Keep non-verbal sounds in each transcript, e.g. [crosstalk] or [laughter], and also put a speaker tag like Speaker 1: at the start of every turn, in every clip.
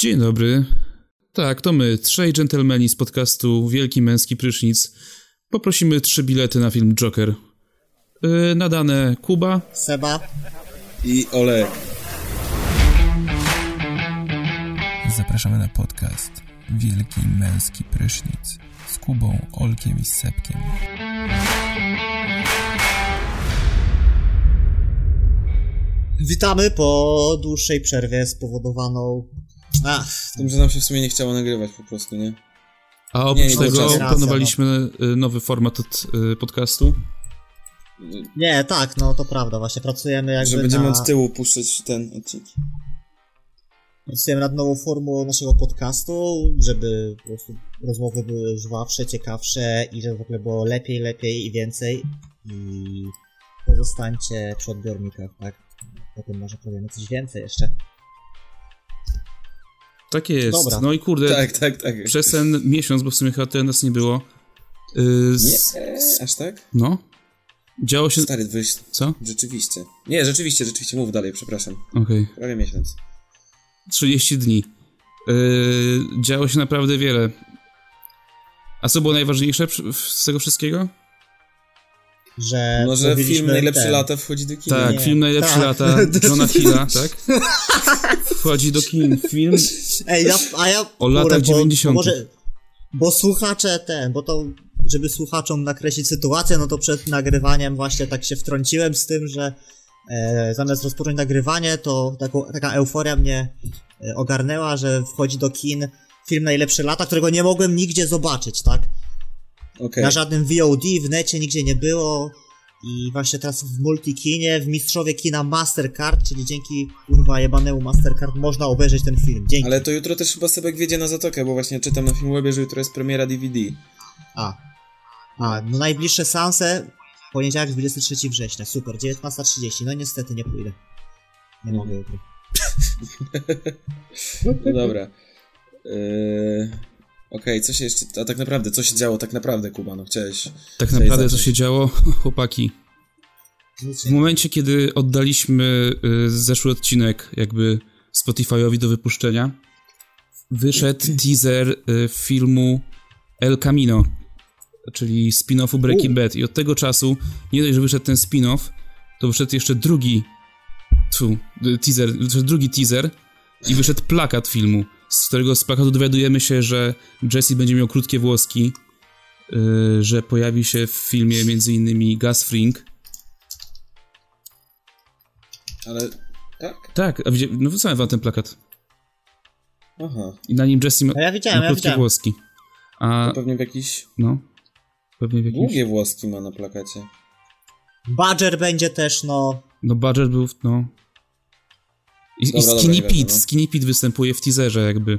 Speaker 1: Dzień dobry. Tak, to my, trzej dżentelmeni z podcastu Wielki Męski Prysznic. Poprosimy trzy bilety na film Joker. Yy, nadane Kuba,
Speaker 2: Seba.
Speaker 3: I Olek.
Speaker 4: Zapraszamy na podcast Wielki Męski Prysznic z Kubą, Olkiem i Sepkiem.
Speaker 2: Witamy po dłuższej przerwie spowodowaną. A,
Speaker 3: Tym, że nam się w sumie nie chciało nagrywać po prostu, nie?
Speaker 1: a oprócz
Speaker 3: nie,
Speaker 1: tego
Speaker 3: nie,
Speaker 2: nie.
Speaker 1: planowaliśmy y, nowy format od y, podcastu.
Speaker 2: nie, tak, no to prawda, właśnie pracujemy jakby
Speaker 3: Że będziemy
Speaker 2: na,
Speaker 3: od tyłu puszczać ten odcinek.
Speaker 2: pracujemy nad nową formułą naszego podcastu, żeby po prostu rozmowy były żwawsze, ciekawsze i żeby w ogóle było lepiej, lepiej i więcej. I pozostańcie przy odbiornikach, tak? Potem może powiemy coś więcej jeszcze.
Speaker 1: Tak jest.
Speaker 2: Dobra.
Speaker 1: No i kurde,
Speaker 3: Tak, tak, tak.
Speaker 1: przez ten miesiąc, bo w sumie chyba tyle nas nie było. Yy,
Speaker 3: Nie,
Speaker 1: s-
Speaker 3: aż tak?
Speaker 1: No. Działo się...
Speaker 3: Stary, dwudziest...
Speaker 1: Co?
Speaker 3: rzeczywiście. Nie, rzeczywiście, rzeczywiście, mów dalej, przepraszam.
Speaker 1: Okej.
Speaker 3: Prawie miesiąc.
Speaker 1: 30 dni. Yy, działo się naprawdę wiele. A co było najważniejsze przy- w- z tego wszystkiego?
Speaker 2: Że
Speaker 3: No, że film
Speaker 2: mówiliśmy
Speaker 3: Najlepsze
Speaker 2: Tak, ten-
Speaker 3: lata wchodzi do kina.
Speaker 1: Tak,
Speaker 2: Nie.
Speaker 1: film Najlepsze
Speaker 2: Tak. [laughs]
Speaker 1: lata Johna Hilla, tak? Wchodzi do kin
Speaker 2: [laughs]
Speaker 1: film.
Speaker 2: Ej, ja, a ja.
Speaker 1: O latach
Speaker 2: bo-
Speaker 1: 90..
Speaker 2: Może, bo słuchacze ten, bo to, żeby słuchaczom nakreślić sytuację, no to przed nagrywaniem właśnie tak się wtrąciłem z tym, że e, zamiast rozpocząć nagrywanie, to taką, taka euforia mnie e, ogarnęła, że wchodzi do kin film Najlepsze Lata, którego nie mogłem nigdzie zobaczyć, tak?
Speaker 3: Okej.
Speaker 2: Na żadnym VOD, w necie nigdzie nie było. I właśnie teraz w Multikinie, w Mistrzowie Kina Mastercard, czyli dzięki kurwa jebanemu Mastercard można obejrzeć ten film. Dzięki.
Speaker 3: Ale to jutro też chyba Sebek wiedzie na Zatokę, bo właśnie czytam na Filmwebie, że jutro jest premiera DVD.
Speaker 2: A. A, no najbliższe seanse poniedziałek 23 września. Super, 19.30. No niestety nie pójdę. Nie mogę jutro.
Speaker 3: No dobra. Yy... Okej, co się jeszcze... A tak naprawdę, co się działo tak naprawdę, Kuba? No chciałeś...
Speaker 1: Tak
Speaker 3: Chcę
Speaker 1: naprawdę co
Speaker 3: zacząć.
Speaker 1: się działo, [laughs] chłopaki.
Speaker 2: Nic
Speaker 1: W momencie, kiedy oddaliśmy y, zeszły odcinek jakby Spotify'owi do wypuszczenia, wyszedł teaser y, filmu El Camino, czyli spin-offu Breaking Bad. I od tego czasu, nie dość, że wyszedł ten spin-off, to wyszedł jeszcze drugi tfu, y, teaser, wyszedł drugi teaser i wyszedł plakat filmu, z którego z plakatu dowiadujemy się, że Jesse będzie miał krótkie włoski, y, że pojawi się w filmie m.in. Gus Fring,
Speaker 3: Ale... Tak?
Speaker 1: Tak, a widzi... no wysłałem wam ten plakat.
Speaker 3: Aha.
Speaker 1: I na nim Jesse ma,
Speaker 2: No ja widziałem,
Speaker 1: ma
Speaker 2: ja
Speaker 1: krótkie
Speaker 2: widziałem.
Speaker 1: włoski. A,
Speaker 3: Pewnie w jakiś...
Speaker 1: no, pewnie w jakimś...
Speaker 3: Długie włoski ma na plakacie.
Speaker 2: Badger będzie też, no.
Speaker 1: No, Badger był, w- no... I, i
Speaker 3: Dobra, dobra, no.
Speaker 1: Skinny
Speaker 3: nie
Speaker 1: Pete,
Speaker 3: wiadomo.
Speaker 1: Skinny Pete występuje w teaserze jakby.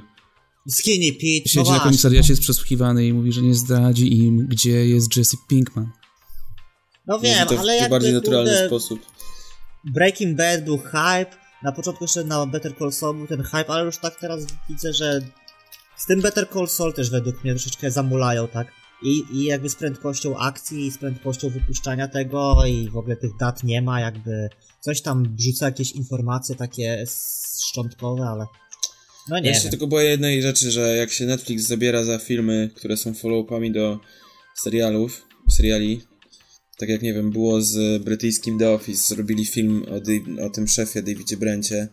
Speaker 2: Skinny Pete, no
Speaker 1: Siedzi na
Speaker 2: właśnie.
Speaker 1: komisariacie, jest przesłuchiwany i mówi, że nie zdradzi im, gdzie jest Jesse Pinkman.
Speaker 2: No
Speaker 3: Może
Speaker 2: wiem,
Speaker 3: to w
Speaker 2: ale jakby
Speaker 3: bardziej naturalny
Speaker 2: kurde,
Speaker 3: sposób.
Speaker 2: Breaking Bad był hype. Na początku jeszcze na Better Call Saul był ten hype, ale już tak teraz widzę, że z tym Better Call Saul też według mnie troszeczkę zamulają, tak? I, I jakby z prędkością akcji, i z prędkością wypuszczania tego, i w ogóle tych dat nie ma, jakby coś tam wrzuca jakieś informacje takie s- szczątkowe, ale. No nie.
Speaker 3: Ja się
Speaker 2: wiem.
Speaker 3: tylko boję jednej rzeczy, że jak się Netflix zabiera za filmy, które są follow-upami do serialów, seriali, tak jak, nie wiem, było z brytyjskim The Office, zrobili film o, Dave- o tym szefie Davidzie Brencie,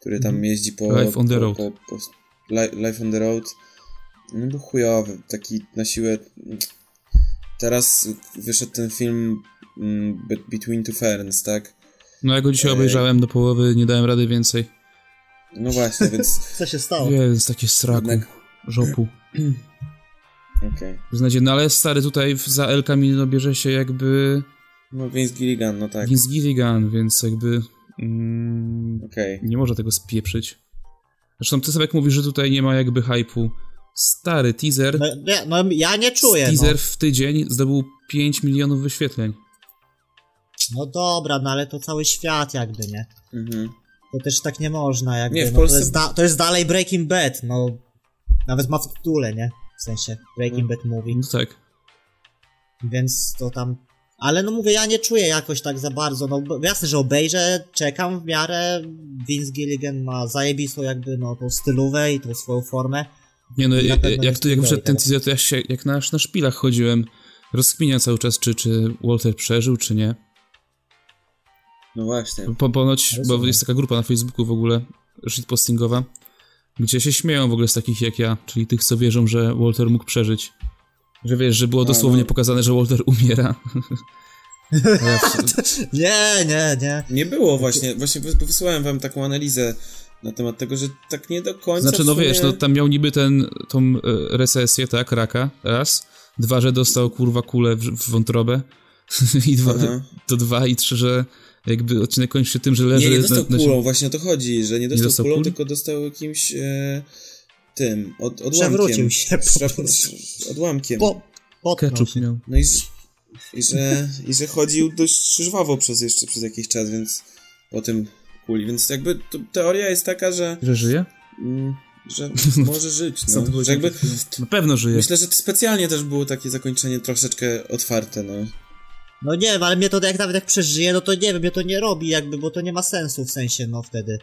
Speaker 3: który tam jeździ po...
Speaker 1: Mhm. Life on the
Speaker 3: po,
Speaker 1: Road.
Speaker 3: Po, po, li, life on the Road. No był chujowy, taki na siłę... Teraz wyszedł ten film mm, Be- Between Two Ferns, tak?
Speaker 1: No, ja go dzisiaj
Speaker 3: Ej.
Speaker 1: obejrzałem do połowy, nie dałem rady więcej.
Speaker 3: No właśnie,
Speaker 1: [laughs]
Speaker 3: więc...
Speaker 2: Co się stało?
Speaker 1: Więc takie sraku,
Speaker 3: No. Jednak-
Speaker 1: żopu.
Speaker 3: Okej.
Speaker 1: Znacie, no ale stary tutaj w- za El Camino bierze się jakby...
Speaker 3: No Vince Gilligan, no tak.
Speaker 1: Vince Gilligan, więc jakby mm,
Speaker 3: Okej.
Speaker 1: nie może tego spieprzyć. Zresztą ty sobie jak mówisz, że tutaj nie ma jakby hypu. Stary teaser,
Speaker 2: No, nie, no ja nie czuję. No.
Speaker 1: teaser w tydzień zdobył 5 milionów wyświetleń.
Speaker 2: no dobra, no ale to cały świat jakby, nie?
Speaker 3: Mhm.
Speaker 2: To też tak nie można, jakby.
Speaker 3: Nie, w
Speaker 2: no,
Speaker 3: Polsce-
Speaker 2: to, jest da- to jest dalej Breaking Bad, no. Nawet ma w
Speaker 3: Mm.
Speaker 2: tytule, nie? W sensie Breaking Bad Movie.
Speaker 1: No tak.
Speaker 2: Więc to tam Ale no mówię, ja nie czuję jakoś tak za bardzo, no bo jasne, że obejrzę, czekam w miarę, Vince Gilligan ma zajebistą jakby no tą stylówę i tą swoją formę.
Speaker 1: Nie no,
Speaker 2: Na
Speaker 1: ja-
Speaker 2: pewno
Speaker 1: jak,
Speaker 2: jest
Speaker 1: tu, jak
Speaker 2: ok
Speaker 1: przed ten
Speaker 2: teraz.
Speaker 1: teaser, to ja się jak na, na szpilach chodziłem, rozkminiam cały czas, czy, czy Walter przeżył, czy nie.
Speaker 3: No właśnie.
Speaker 1: Po, ponoć, bo
Speaker 2: Rozumiem.
Speaker 1: jest taka grupa na Facebooku w ogóle, shitpostingowa, gdzie się śmieją w ogóle z takich jak ja, czyli tych, co wierzą, że Walter mógł przeżyć. Że wiesz, że
Speaker 2: Tak,
Speaker 1: było
Speaker 3: A,
Speaker 1: dosłownie
Speaker 3: no.
Speaker 1: pokazane, że Walter
Speaker 2: [laughs]
Speaker 1: umiera. [laughs] A ja w-
Speaker 2: Nie, nie, nie.
Speaker 3: Nie było właśnie, właśnie wys- wysyłałem wam taką analizę na temat tego, że tak nie do końca.
Speaker 1: Znaczy, no
Speaker 3: w sumie-
Speaker 1: wiesz, no tam miał niby ten, tą e, recesję, tak, raka, raz. Dwa, że dostał kurwa kulę w, w wątrobę. [laughs] I dwa,
Speaker 3: Aha.
Speaker 1: to dwa i trzy, że jakby odcinek kończy się tym, że leży...
Speaker 3: Nie, nie dostał
Speaker 1: na- na-
Speaker 3: kulą, właśnie o to chodzi, że nie dostał,
Speaker 1: dostał
Speaker 3: kulą,
Speaker 1: kul?
Speaker 3: tylko dostał jakimś e, tym, od, odłamkiem.
Speaker 2: Przewrócił się po
Speaker 3: Prze-
Speaker 2: prostu.
Speaker 3: Odłamkiem.
Speaker 2: Po, potknął
Speaker 1: Ketchup
Speaker 2: się.
Speaker 1: miał.
Speaker 3: No i, że- i, że, i że chodził dość żwawo przez jeszcze przez jakiś czas, więc po tym kuli. Więc jakby to, teoria jest taka, że,
Speaker 1: Że żyje?
Speaker 3: mm,
Speaker 1: [laughs]
Speaker 3: że może żyć.
Speaker 1: Sam to
Speaker 3: No. Że jakby,
Speaker 1: Na pewno żyje.
Speaker 3: myślę, że specjalnie też było takie zakończenie troszeczkę otwarte. No.
Speaker 2: No nie wiem, ale mnie to jak nawet jak przeżyje, no to nie wiem, mnie to nie robi jakby, bo to nie ma sensu w sensie, no wtedy.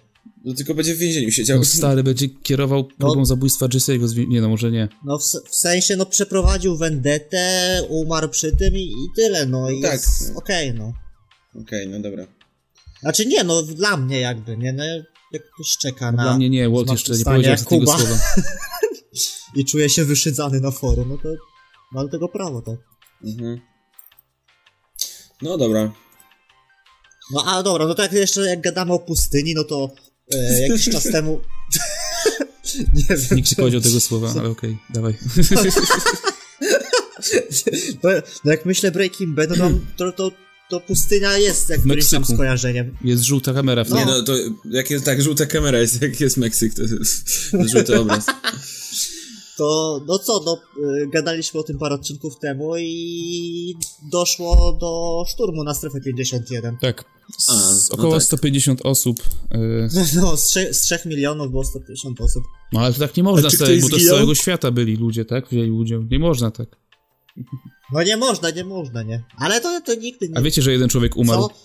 Speaker 3: no tylko będzie w więzieniu siedział.
Speaker 1: No, stary będzie kierował
Speaker 3: No.
Speaker 1: próbą zabójstwa Jesse'ego. z wi- Nie no, może nie.
Speaker 2: No w, s- w sensie, no przeprowadził vendetę, umarł przy tym i, i tyle, no i
Speaker 3: No tak.
Speaker 2: tak. okej, no.
Speaker 3: [laughs] Okej, no dobra.
Speaker 2: Znaczy nie, no dla mnie jakby, nie, no jak ktoś czeka
Speaker 1: No Dla
Speaker 2: na...
Speaker 1: mnie nie, Walt jeszcze nie
Speaker 2: zmartwychwstanie
Speaker 1: powiedział
Speaker 2: jak
Speaker 1: ostatniego
Speaker 2: Kuba.
Speaker 3: [laughs]
Speaker 1: słowa.
Speaker 2: I czuje się wyszydzany na forum, no to mam do tego prawo, tak.
Speaker 3: Mhm. No dobra.
Speaker 2: No a dobra, no to jak jeszcze jak gadamy o pustyni, no to e, jakiś czas temu... [laughs] nie wiem,
Speaker 1: Nikt nie
Speaker 2: czy-
Speaker 1: powiedział tego słowa, ale okej, dawaj.
Speaker 2: No, no jak myślę Breaking Bad, no tam- to, to, to pustynia jest jak którymś tam
Speaker 1: Meksyku.
Speaker 2: skojarzeniem.
Speaker 1: Jest żółta kamera w
Speaker 2: No.
Speaker 1: nim.
Speaker 3: Nie no, to jak jest tak, żółta kamera jest, jak jest Meksyk, to, [laughs] to żółty obraz.
Speaker 2: To, no co, no y, gadaliśmy o tym parę odcinków temu i doszło do szturmu na strefę 51.
Speaker 1: Tak. Z
Speaker 3: A, no
Speaker 1: około
Speaker 3: tak.
Speaker 1: 150 osób. y,
Speaker 2: [laughs] No, z, trze- z 3 milionów było 150 osób.
Speaker 1: No ale to tak nie można
Speaker 3: A czy
Speaker 1: stary,
Speaker 3: ktoś
Speaker 1: bo to z
Speaker 3: zginął?
Speaker 1: całego świata byli ludzie, tak? Wzięli udział. Nie można tak.
Speaker 2: No nie można, nie można, nie. Ale to, to nigdy nie...
Speaker 1: A wiecie, że jeden człowiek umarł?
Speaker 2: co?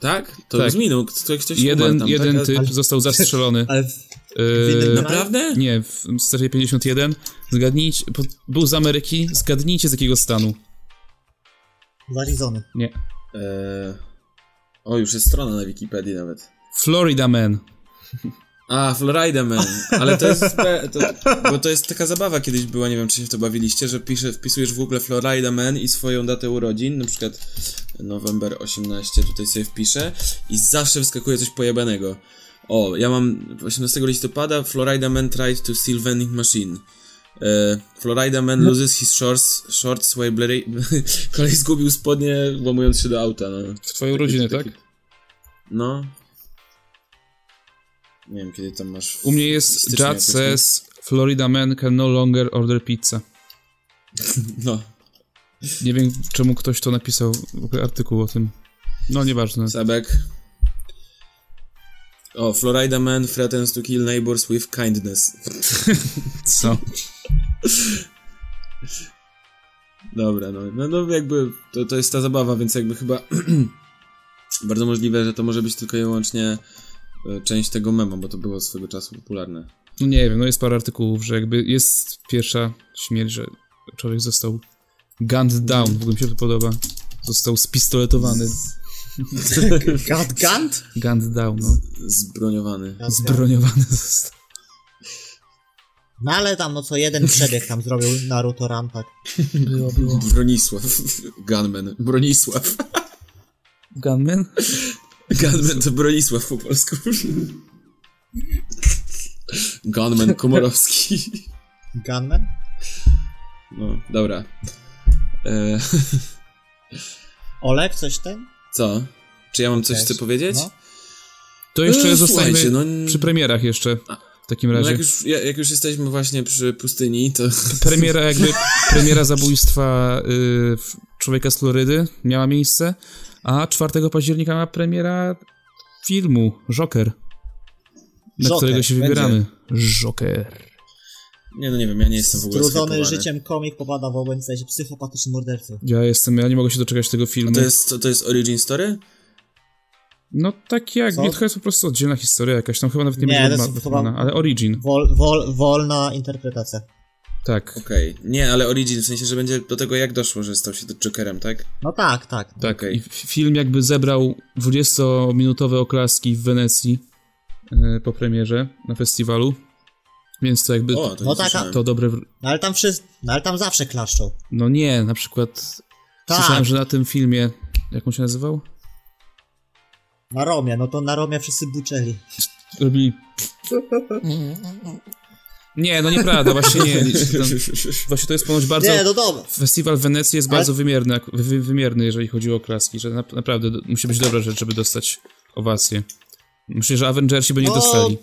Speaker 3: Tak? To
Speaker 1: Tak.
Speaker 3: już minął, ktoś, ktoś
Speaker 1: Jeden,
Speaker 3: umarł tam,
Speaker 1: jeden
Speaker 3: tak?
Speaker 1: typ
Speaker 2: Ale-
Speaker 1: został
Speaker 2: [laughs]
Speaker 1: zastrzelony.
Speaker 2: Ale E, w,
Speaker 1: Y,
Speaker 2: innym kraju?
Speaker 3: Naprawdę?
Speaker 1: Nie, w strefie 51. Zgadnijcie, bo był z Ameryki, zgadnijcie z jakiego stanu.
Speaker 2: w Arizony.
Speaker 1: Nie.
Speaker 3: Eee... O, już jest strona na Wikipedii nawet.
Speaker 1: Florida Man.
Speaker 3: A, Florida Man. Ale to jest. spe- To, bo to jest taka zabawa kiedyś była, nie wiem czy się w to bawiliście, że pisze, wpisujesz w Google Florida Man i swoją datę urodzin, na przykład November 18 tutaj sobie wpiszę i zawsze wyskakuje coś pojebanego. O, ja mam 18 listopada Florida Man tried to steal vending machine. E, Florida Man loses his shorts, shorts while Blair... [laughs] Kolej zgubił spodnie, łamując się do auta. No.
Speaker 1: W twoją rodzinę, tak?
Speaker 3: Taki- No. Nie wiem, kiedy tam masz.
Speaker 1: U mnie
Speaker 3: w
Speaker 1: jest
Speaker 3: styczniu
Speaker 1: Jad
Speaker 3: jakoś, nie?
Speaker 1: says Florida Man can no longer order pizza.
Speaker 3: No,
Speaker 1: Nie wiem, czemu ktoś to napisał, w ogóle artykuł o tym. No, nieważne.
Speaker 3: Sabek. O, Florida Man threatens to kill neighbors with kindness.
Speaker 1: Co?
Speaker 3: Dobra, no, no, no jakby to, to jest ta zabawa, więc jakby chyba [clears throat] bardzo możliwe, że to może być tylko i wyłącznie e, część tego mema, bo to było swego czasu popularne.
Speaker 1: No nie wiem, no jest parę artykułów, że jakby jest pierwsza śmierć, że człowiek został gunned down, w ogóle mi się to podoba. Został spistoletowany.
Speaker 2: Gant, Gant?
Speaker 1: Gunned down, no.
Speaker 3: Zbroniowany.
Speaker 1: Zbroniowany został.
Speaker 2: No ale tam, no co, jeden przebieg tam zrobił Naruto Ram, tak.
Speaker 1: Było, było.
Speaker 3: Bronisław. [laughs] Gunman. Bronisław.
Speaker 1: Gunman?
Speaker 3: Gunman to Bronisław po polsku. Gunman Komorowski.
Speaker 2: Gunman?
Speaker 3: No, dobra. E,
Speaker 2: Olek, coś ten?
Speaker 3: co? Czy ja mam coś
Speaker 2: Też.
Speaker 3: chcę powiedzieć?
Speaker 2: No.
Speaker 1: To jeszcze
Speaker 3: No,
Speaker 1: zostajemy
Speaker 3: słuchajcie, no-
Speaker 1: przy premierach jeszcze. W takim
Speaker 3: No
Speaker 1: razie.
Speaker 3: jak, już, ja- jak już jesteśmy właśnie przy pustyni, to
Speaker 1: Premiera jakby, premiera zabójstwa y, w- człowieka z Florydy miała miejsce, a 4 października ma premiera filmu Joker, na
Speaker 2: Joker,
Speaker 1: którego się
Speaker 3: będzie.
Speaker 1: wybieramy. Joker.
Speaker 3: Nie, no nie wiem, ja nie jestem w ogóle
Speaker 2: Strudzony
Speaker 3: zhypowany.
Speaker 2: życiem komik popada w ogień w sensie psychopatycznym mordercy.
Speaker 1: Ja jestem, ja nie mogę się doczekać tego filmu.
Speaker 3: To jest, to, to jest Origin Story?
Speaker 1: No tak jak,
Speaker 2: Co?
Speaker 1: nie, to jest po prostu oddzielna historia jakaś, tam chyba nawet nie,
Speaker 2: Nie,
Speaker 1: będzie
Speaker 2: to
Speaker 1: ma-
Speaker 2: jest
Speaker 1: Batmana,
Speaker 2: chyba-
Speaker 1: ale Origin,
Speaker 2: Wol, wol, wolna interpretacja.
Speaker 1: tak,
Speaker 3: Okej. Nie, ale Origin, w sensie, że będzie do tego jak doszło, że stał się Jokerem, tak?
Speaker 2: No tak, tak.
Speaker 1: tak.
Speaker 3: okej.
Speaker 1: I f- film jakby zebrał 20-minutowe oklaski w Wenecji e, po premierze na festiwalu, więc to jakby
Speaker 3: O, to
Speaker 2: No
Speaker 3: no
Speaker 2: tak, a-
Speaker 3: tak, [laughs]
Speaker 1: to dobre... wr-
Speaker 2: No ale tam wszyscy, no ale tam zawsze klaszczą.
Speaker 1: No nie, na przykład
Speaker 2: Tak,
Speaker 1: słyszałem, że na tym filmie, jak on się nazywał?
Speaker 2: na Romie, no to na Romie wszyscy buczeli.
Speaker 1: Robili... Nie, no nieprawda, właśnie
Speaker 2: [laughs]
Speaker 1: nie. Ten- Właśnie to jest ponoć bardzo...
Speaker 2: Nie, no dobra.
Speaker 1: Festiwal w Wenecji jest
Speaker 2: Ale-
Speaker 1: bardzo wymierny, ak- wy, wymierny, jeżeli chodzi o oklaski, że nap- naprawdę do, musi być dobra rzecz, żeby dostać owację. Myślę, że Avengersi by nie
Speaker 2: No,
Speaker 1: dostali.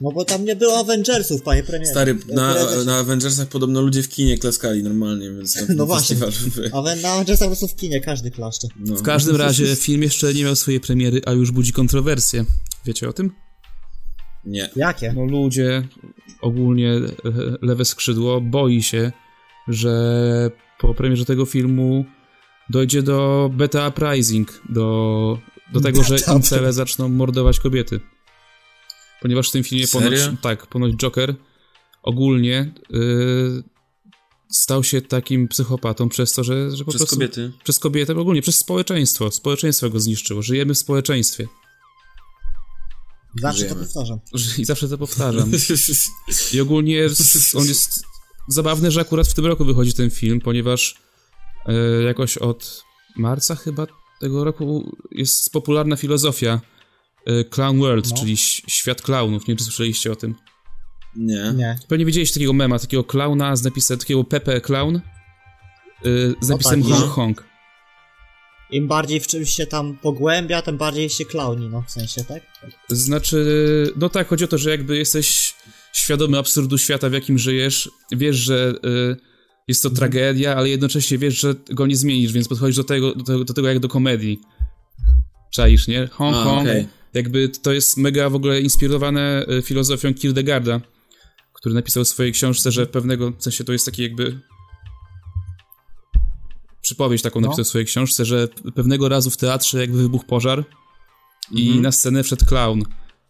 Speaker 2: No bo tam nie było Avengersów, panie premierze.
Speaker 3: Stary, na,
Speaker 2: Prezesie.
Speaker 3: na Avengersach podobno ludzie w kinie klaskali normalnie, więc na-
Speaker 2: No
Speaker 3: na
Speaker 2: właśnie.
Speaker 3: festiwalu by-
Speaker 2: A we- na Avengersach po prostu w kinie każdy klaszcze.
Speaker 3: No.
Speaker 1: W każdym razie film jeszcze nie miał swojej premiery, a już budzi kontrowersje. Wiecie o tym?
Speaker 3: Nie.
Speaker 2: Jakie?
Speaker 1: No ludzie, ogólnie e, lewe skrzydło boi się, że po premierze tego filmu dojdzie do beta uprising, do, do tego, że
Speaker 2: Beta
Speaker 1: incele zaczną mordować kobiety. Ponieważ w tym filmie ponoć,
Speaker 3: Serio?
Speaker 1: tak, ponoć Joker ogólnie y, stał się takim psychopatą przez to, że, że po
Speaker 3: Przez
Speaker 1: prostu...
Speaker 3: kobiety.
Speaker 1: Przez kobietę, bo ogólnie przez społeczeństwo. Społeczeństwo go zniszczyło. Żyjemy w społeczeństwie.
Speaker 2: Zawsze to
Speaker 3: Żyjemy.
Speaker 2: powtarzam.
Speaker 1: [laughs] I zawsze to powtarzam. I ogólnie s- on jest zabawny, że akurat w tym roku wychodzi ten film, ponieważ e, jakoś od marca chyba tego roku jest popularna filozofia e, Clown World,
Speaker 2: No.
Speaker 1: czyli ś- świat klaunów. Nie wiem, czy słyszeliście o tym.
Speaker 3: [laughs] Nie.
Speaker 2: Nie.
Speaker 1: Pewnie widzieliście takiego mema, takiego klauna z napisem, takiego Pepe Clown e, z
Speaker 2: O
Speaker 1: napisem
Speaker 2: tak,
Speaker 1: Hong
Speaker 3: no.
Speaker 1: Hong.
Speaker 2: Im bardziej w czymś się tam pogłębia, tym bardziej się klauni, no w sensie, tak?
Speaker 1: Znaczy, no tak, chodzi o to, że jakby jesteś świadomy absurdu świata, w jakim żyjesz, wiesz, że y, jest
Speaker 3: Mhm.
Speaker 1: to tragedia, ale jednocześnie wiesz, że go nie zmienisz, więc podchodzisz do tego, do tego, do tego jak do komedii. Czaisz, nie? Hong
Speaker 3: A,
Speaker 1: Kong.
Speaker 3: okej.
Speaker 1: Jakby to jest mega w ogóle inspirowane y, filozofią Kierdegarda, który napisał w swojej książce, że pewnego, w sensie to jest taki jakby przypowieść taką
Speaker 3: No.
Speaker 1: napisał w swojej książce, że pewnego razu w teatrze jakby wybuchł pożar i na scenę wszedł clown,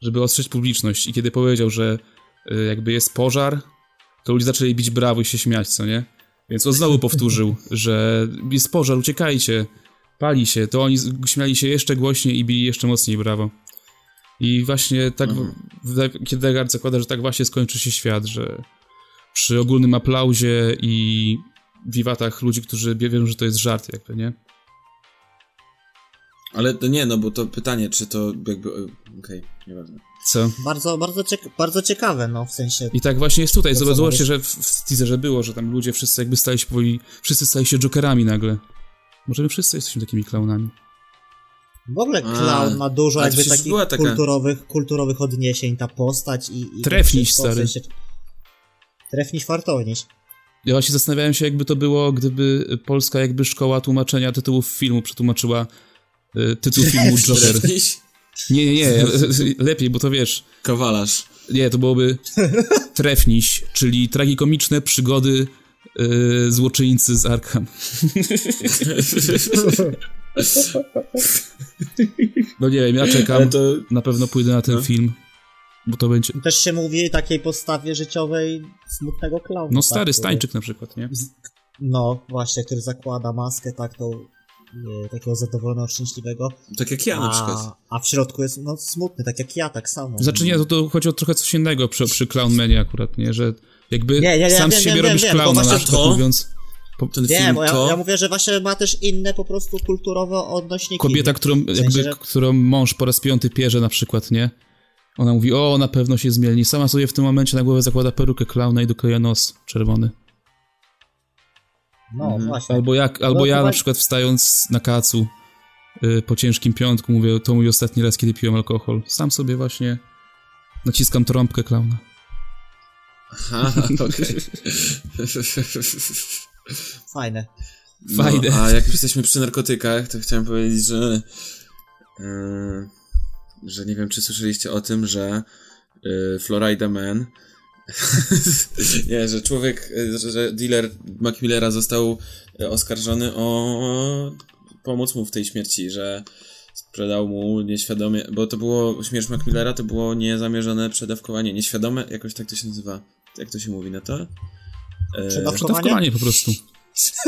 Speaker 1: żeby ostrzec publiczność i kiedy powiedział, że y, jakby jest pożar, to ludzie zaczęli bić brawo i się śmiać, co nie? Więc on znowu powtórzył, że jest pożar, uciekajcie, pali się, to oni z- śmiali się jeszcze głośniej i bili jeszcze mocniej brawo. I właśnie tak, w- w- kiedy Degard zakłada, że tak właśnie skończy się świat, że przy ogólnym aplauzie i wiwatach ludzi, którzy bie- wierzą, że to jest żart, jakby, nie?
Speaker 3: Ale to nie, no bo to pytanie, czy to jakby... Okej, nieważne.
Speaker 1: Co?
Speaker 2: Bardzo, bardzo, cieka- bardzo ciekawe, no w sensie.
Speaker 1: I tak właśnie jest tutaj.
Speaker 2: To co,
Speaker 1: Zobacz- Zobaczcie,
Speaker 2: mówisz?
Speaker 1: że w, w teaserze było, że tam ludzie wszyscy jakby stali się powoli, wszyscy stali się jokerami nagle. Może my wszyscy jesteśmy takimi klaunami.
Speaker 2: W ogóle
Speaker 3: A,
Speaker 2: clown ma dużo
Speaker 3: ale
Speaker 2: jakby
Speaker 3: przecież
Speaker 2: takich
Speaker 3: była taka-
Speaker 2: kulturowych, kulturowych odniesień, ta postać i... i
Speaker 1: Trefniś,
Speaker 2: wszystko, w
Speaker 1: stary.
Speaker 2: sensie- Trefniś, fartowniś.
Speaker 1: Ja właśnie zastanawiałem się, jakby to było, gdyby polska jakby szkoła tłumaczenia tytułów filmu przetłumaczyła y, tytuł filmu Joker.
Speaker 3: [laughs] Jakiś
Speaker 1: Nie, nie, [laughs] nie, lepiej, bo to wiesz, [laughs]
Speaker 3: Kawalarz.
Speaker 1: nie, to byłoby Trefniś, czyli tragikomiczne przygody y, złoczyńcy z Arkham. No nie wiem, ja
Speaker 3: Ale
Speaker 1: czekam.
Speaker 3: to...
Speaker 1: Na pewno pójdę na ten
Speaker 3: No.
Speaker 1: film, bo to będzie...
Speaker 2: Też się mówi takiej postawie życiowej smutnego klauna.
Speaker 1: No
Speaker 2: tak,
Speaker 1: stary
Speaker 2: który-
Speaker 1: Stańczyk na przykład, nie?
Speaker 2: No, właśnie, który zakłada maskę tak tą, e, takiego zadowolonego, szczęśliwego.
Speaker 3: Tak jak ja na przykład. [laughs]
Speaker 2: A, a w środku jest no, smutny, tak jak ja, tak samo.
Speaker 1: Znaczy nie, to, to chodzi o trochę coś innego przy, przy Clownmanie akurat, nie? Że jakby
Speaker 2: Nie, nie, nie,
Speaker 1: sam z
Speaker 2: wiem,
Speaker 1: siebie
Speaker 2: wiem,
Speaker 1: robisz
Speaker 2: wiem, no. bo
Speaker 1: clowna,
Speaker 2: właśnie
Speaker 1: na przykład
Speaker 3: to-
Speaker 1: mówiąc
Speaker 3: Ten
Speaker 2: Nie,
Speaker 3: film
Speaker 2: bo ja,
Speaker 3: to...
Speaker 2: ja mówię, że właśnie ma też inne po prostu kulturowe odnośniki.
Speaker 1: kobieta, którą,
Speaker 2: sensie,
Speaker 1: jakby,
Speaker 2: że-
Speaker 1: którą mąż po raz piąty pierze na przykład, nie? Ona mówi, o, na pewno się zmieni. Sama sobie w tym momencie na głowę zakłada perukę klauna i dokleja nos czerwony.
Speaker 2: No
Speaker 3: Mhm.
Speaker 2: właśnie.
Speaker 1: Albo, jak, albo
Speaker 2: No,
Speaker 1: ja
Speaker 2: chyba-
Speaker 1: na przykład wstając na kacu y, po ciężkim piątku mówię, to mój ostatni raz, kiedy piłem alkohol. Sam sobie właśnie naciskam trąbkę klauna.
Speaker 3: Aha,
Speaker 1: [laughs]
Speaker 3: okej.
Speaker 2: Fajne.
Speaker 1: Fajne.
Speaker 3: No, a jak już jesteśmy przy narkotykach, to chciałem powiedzieć, że. e, Yy, że nie wiem, czy słyszeliście o tym, że yy, e, Florida Man [laughs] Nie, że człowiek, y, że, że dealer Macmillera został y, oskarżony o pomoc mu w tej śmierci, że sprzedał mu nieświadomie, bo to było, śmierć Macmillera to było niezamierzone przedawkowanie, nieświadome, jakoś tak to się nazywa, jak to się mówi na to? Y,
Speaker 2: Przedawkowanie?
Speaker 1: Przedawkowanie po prostu.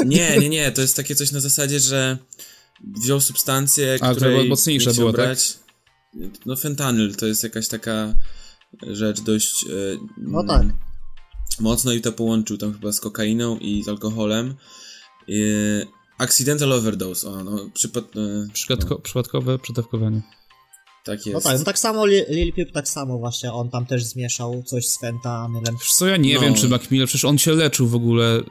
Speaker 3: Nie, nie, nie, to jest takie coś na zasadzie, że wziął substancję,
Speaker 1: A, która
Speaker 3: której
Speaker 1: była mocniejsza
Speaker 3: nie chciał
Speaker 1: była, tak?
Speaker 3: brać. No fentanyl to jest jakaś taka e, rzecz dość... y,
Speaker 2: No tak.
Speaker 3: mocno i to połączył tam chyba z kokainą i z alkoholem. Yy, accidental overdose, o, no, przypad... Yy,
Speaker 1: Przypadko, Przypadkowe przedawkowanie.
Speaker 3: tak
Speaker 2: No
Speaker 3: jest.
Speaker 2: tak, no tak samo Li- Lil Peep, tak samo właśnie, on tam też zmieszał coś z fentanylem.
Speaker 1: Wiesz co, ja nie
Speaker 3: No.
Speaker 1: wiem, czy Macmillan, przecież on się leczył w ogóle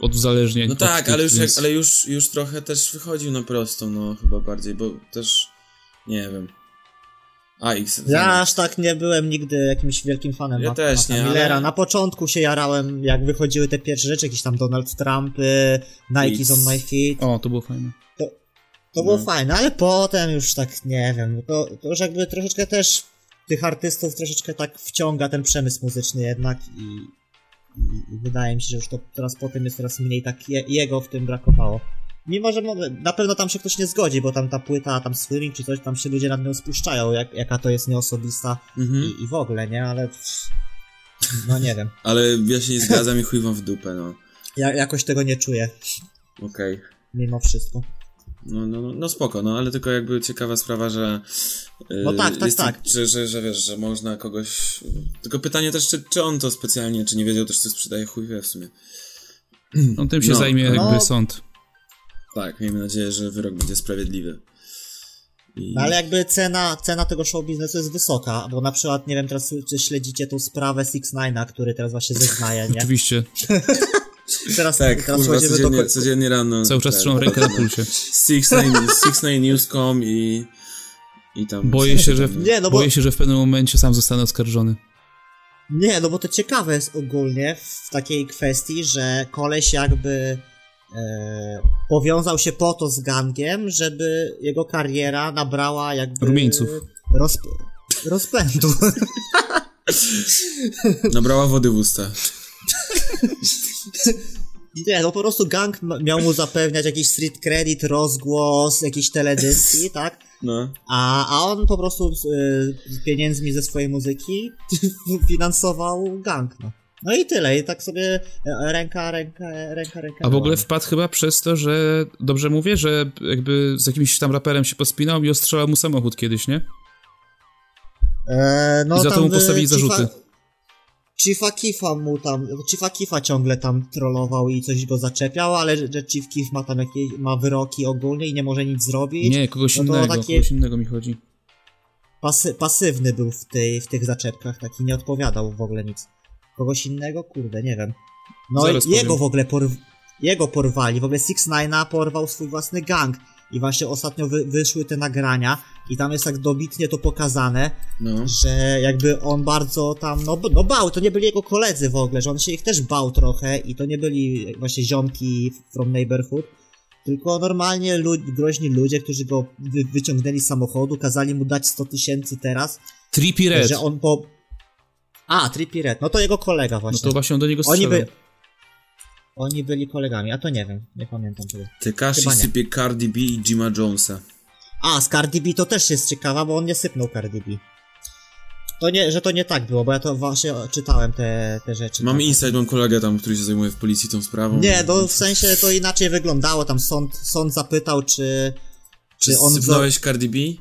Speaker 1: od uzależnień.
Speaker 3: No
Speaker 1: od
Speaker 3: tak,
Speaker 1: tych,
Speaker 3: ale już, jak,
Speaker 1: więc-
Speaker 3: ale już, już trochę też wychodził na prostą, no chyba bardziej, bo też, nie wiem. A, i...
Speaker 2: Ja aż tak nie byłem nigdy jakimś wielkim fanem
Speaker 3: Ja
Speaker 2: Matt-
Speaker 3: też
Speaker 2: Matta
Speaker 3: nie, ale-
Speaker 2: Millera. Na początku się jarałem, jak wychodziły te pierwsze rzeczy, jakieś tam Donald Trump, y, Nike's
Speaker 3: Nic.
Speaker 2: on my feet.
Speaker 1: O, to było fajne.
Speaker 2: To było
Speaker 3: No.
Speaker 2: fajne, ale potem już tak, nie wiem, to, to już jakby troszeczkę też tych artystów troszeczkę tak wciąga ten przemysł muzyczny jednak i, i, i wydaje mi się, że już to teraz po tym jest coraz mniej tak je, jego w tym brakowało. Mimo, że mo- na pewno tam się ktoś nie zgodzi, bo tam ta płyta, tam swimming czy coś, tam się ludzie nad nią spuszczają, jak, jaka to jest nieosobista
Speaker 3: Mhm.
Speaker 2: i, i w ogóle, nie? Ale pff, no nie wiem,
Speaker 3: Ale ja się nie zgadzam i chuj wam w dupę, no.
Speaker 2: ja jakoś tego nie czuję
Speaker 3: Okej.
Speaker 2: mimo wszystko.
Speaker 3: No, no, no, no spoko, no ale tylko jakby ciekawa sprawa, że. yy,
Speaker 2: No tak, tak,
Speaker 3: jest-
Speaker 2: tak.
Speaker 3: Że, że, że wiesz, że można kogoś. Tylko pytanie też, czy, czy on to specjalnie, czy nie wiedział też, co sprzedaje chuj wie w sumie.
Speaker 1: No, tym się
Speaker 3: No.
Speaker 1: zajmie
Speaker 3: No.
Speaker 1: jakby sąd.
Speaker 3: Tak, miejmy nadzieję, że wyrok będzie sprawiedliwy. I...
Speaker 2: No ale jakby cena, cena tego show biznesu jest wysoka, bo na przykład, nie wiem teraz, czy śledzicie tą sprawę Six Nine'a, który teraz właśnie zeznaje, nie?
Speaker 1: Oczywiście,
Speaker 2: Teraz,
Speaker 3: Tak,
Speaker 2: teraz
Speaker 3: kurwa,
Speaker 2: chodzimy do...
Speaker 3: codziennie,
Speaker 2: ko-
Speaker 3: codziennie rano.
Speaker 1: cały czas
Speaker 3: tak,
Speaker 1: trzymam rękę na
Speaker 3: [laughs]
Speaker 1: pulsie.
Speaker 3: Six Nine, Six Nine News.com i. I tam.
Speaker 1: Boję się, że,
Speaker 3: tam-
Speaker 2: Nie, no bo,
Speaker 1: boję się, że w pewnym momencie sam zostanę oskarżony.
Speaker 2: nie, no bo to ciekawe jest ogólnie w takiej kwestii, że koleś jakby e, powiązał się po to z gangiem, żeby jego kariera nabrała jakby...
Speaker 1: Rumieńców.
Speaker 2: Rozp... Rozpędu.
Speaker 3: Nabrała wody w usta.
Speaker 2: Nie, no po prostu gang ma- miał mu zapewniać jakiś street credit, rozgłos, jakieś teledyski, tak?
Speaker 3: No.
Speaker 2: A, a on po prostu z, y, z pieniędzmi ze swojej muzyki [laughs] finansował gang. No. no i tyle, i tak sobie e, ręka, ręka, ręka, ręka.
Speaker 1: A w
Speaker 2: była.
Speaker 3: Tak.
Speaker 1: ogóle wpadł chyba przez to, że dobrze mówię, że jakby z jakimś tam raperem się pospinał i ostrzelał mu samochód kiedyś, nie?
Speaker 2: E, no,
Speaker 1: i za to
Speaker 2: tam,
Speaker 1: mu postawili
Speaker 2: y, Chiefa-
Speaker 1: zarzuty.
Speaker 2: Chiefa Kifa mu tam, Chiefa Kifa ciągle tam trollował i coś go zaczepiał, ale że że Chief Kif ma tam jakieś, ma wyroki ogólnie i nie może nic zrobić.
Speaker 1: Nie, kogoś
Speaker 2: No to
Speaker 1: innego,
Speaker 2: takie-
Speaker 1: kogoś innego mi chodzi.
Speaker 2: Pasy, pasywny był w, tej, w tych zaczepkach, taki nie odpowiadał w ogóle nic. Kogoś innego? Kurde, nie wiem. No
Speaker 1: Zaraz
Speaker 2: i jego
Speaker 1: powiem.
Speaker 2: w ogóle porw- jego porwali, w ogóle Six Nine'a porwał swój własny gang. I właśnie ostatnio wy- wyszły te nagrania i tam jest tak dobitnie to pokazane,
Speaker 3: No.
Speaker 2: że jakby on bardzo tam, no, b- no bał, to nie byli jego koledzy w ogóle, że on się ich też bał trochę i to nie byli właśnie ziomki from neighborhood, tylko normalnie lu- groźni ludzie, którzy go wy- wyciągnęli z samochodu, kazali mu dać 100 tysięcy teraz,
Speaker 1: Trippy Red. No
Speaker 2: że on po... A, Trippie Red, no to jego kolega
Speaker 1: No
Speaker 2: właśnie.
Speaker 1: to właśnie on do niego
Speaker 2: Oni,
Speaker 1: strzelał.
Speaker 2: by... Oni byli kolegami, a to nie wiem, nie pamiętam tego.
Speaker 3: Tekashi
Speaker 2: Chyba nie.
Speaker 3: sypie Cardi B i Jima Jonesa.
Speaker 2: A, z Cardi B to też jest ciekawa, bo on nie sypnął Cardi B. To nie, że to nie tak było, bo ja to właśnie czytałem te, te rzeczy.
Speaker 3: Mam
Speaker 2: tak.
Speaker 3: insight, mam kolegę tam, który się zajmuje w policji tą sprawą.
Speaker 2: Nie, no w sensie to inaczej wyglądało, tam sąd, sąd zapytał, czy,
Speaker 3: Czy
Speaker 2: czy on
Speaker 3: sypnąłeś Cardi B?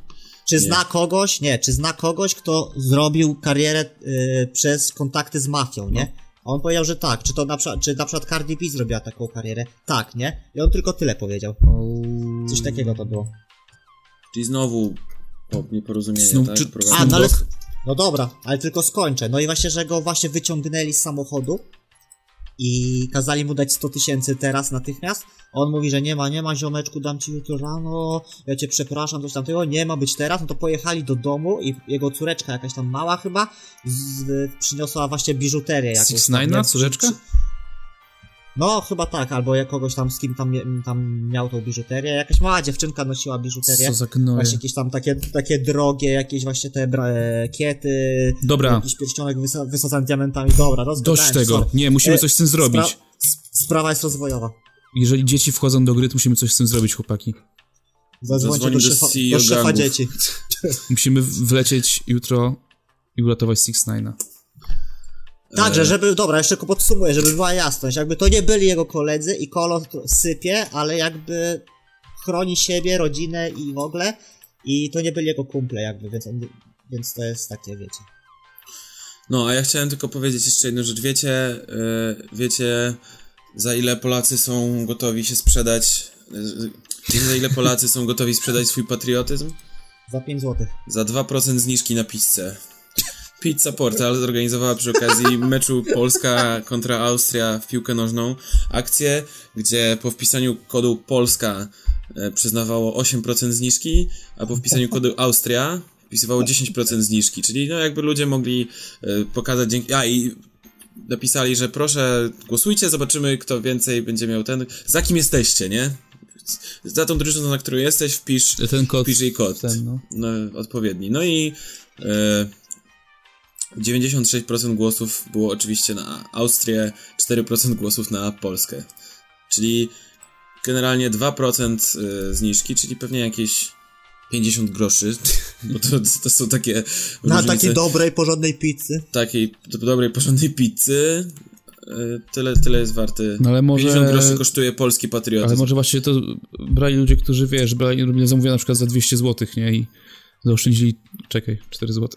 Speaker 2: czy zna kogoś, nie, czy zna kogoś, kto zrobił karierę y, przez kontakty z mafią, nie? A on powiedział, że tak, czy to na przykład, czy na przykład Cardi B zrobiła taką karierę? Tak, nie? I on tylko tyle powiedział. Coś takiego to było.
Speaker 3: Czyli znowu po nieporozumienie,
Speaker 1: Znowu
Speaker 3: tak?
Speaker 1: czy-
Speaker 3: Prowadzę.
Speaker 2: A, no ale.
Speaker 1: Dogg.
Speaker 2: No dobra, ale tylko skończę. No i właśnie, że go właśnie wyciągnęli z samochodu i kazali mu dać 100 tysięcy teraz natychmiast. On mówi, że nie ma, nie ma, ziomeczku, dam ci jutro rano, ja cię przepraszam, coś tamtego, nie ma być teraz. No to pojechali do domu i jego córeczka, jakaś tam mała chyba, z, przyniosła właśnie biżuterię jakąś.
Speaker 1: Six
Speaker 2: tam, nie
Speaker 1: Nine'a,
Speaker 2: wiem,
Speaker 1: córeczka?
Speaker 2: przy- No, chyba tak, albo jak kogoś tam, z kim tam, tam miał tą biżuterię. Jakaś mała dziewczynka nosiła biżuterię.
Speaker 1: Co za gnoje.
Speaker 2: Właśnie jakieś tam takie, takie drogie, jakieś właśnie te bra- e, kiety,
Speaker 1: Dobra,
Speaker 2: jakiś pierścionek wysa- wysadzany diamentami. Dobra, rozgadałem
Speaker 3: Tak,
Speaker 1: dość
Speaker 2: się,
Speaker 1: tego.
Speaker 2: sorry.
Speaker 1: Nie, musimy
Speaker 2: E,
Speaker 1: coś z tym zrobić.
Speaker 2: Spra- s- sprawa jest rozwojowa.
Speaker 1: Jeżeli dzieci wchodzą do gry, to musimy coś z tym zrobić, chłopaki.
Speaker 2: Zadzwońcie
Speaker 3: Zadzwoń
Speaker 2: do
Speaker 3: do
Speaker 2: szefa,
Speaker 3: CEO
Speaker 2: do szefa
Speaker 3: gangów.
Speaker 2: dzieci.
Speaker 1: Musimy wlecieć jutro i uratować Six Nine'a.
Speaker 2: Także, żeby, dobra, jeszcze tylko podsumuję, żeby była jasność. Jakby to nie byli jego koledzy i Kolo to sypie, ale jakby chroni siebie, rodzinę i w ogóle. I to nie byli jego kumple, jakby, więc, on, więc to jest takie, wiecie.
Speaker 3: No, a ja chciałem tylko powiedzieć jeszcze jedną rzecz. Wiecie, y, wiecie za ile Polacy są gotowi się sprzedać, y, wiecie, za ile Polacy są gotowi sprzedać swój patriotyzm?
Speaker 2: Za 5 złotych.
Speaker 3: Za 2% zniżki na pizzę. Pizza Portal zorganizowała przy okazji meczu Polska kontra Austria w piłkę nożną akcję, gdzie po wpisaniu kodu Polska e, przyznawało 8% zniżki, a po wpisaniu kodu Austria wpisywało 10% zniżki, czyli no jakby ludzie mogli e, pokazać dzięki... A i napisali, że proszę głosujcie, zobaczymy kto więcej będzie miał ten... Za kim jesteście, nie? Za tą drużyną, na którą jesteś wpisz...
Speaker 1: E, Ten kod.
Speaker 3: PJ kod.
Speaker 1: Ten, no.
Speaker 3: No, odpowiedni. No i e, 96% głosów było oczywiście na Austrię, 4% głosów na Polskę. Czyli generalnie 2% e, zniżki, czyli pewnie jakieś 50 groszy, [laughs] bo to, to są takie
Speaker 2: Na
Speaker 3: różnice
Speaker 2: takiej dobrej, porządnej pizzy.
Speaker 3: takiej do- dobrej, porządnej pizzy. E, Tyle, tyle jest warty.
Speaker 1: No ale może-
Speaker 3: 50 groszy kosztuje polski patriotyzm.
Speaker 1: Ale może właśnie to brali ludzie, którzy wiesz, brali robienie zamówienia na przykład za 200 zł, nie? I zaoszczędzili, czekaj, 4 zł.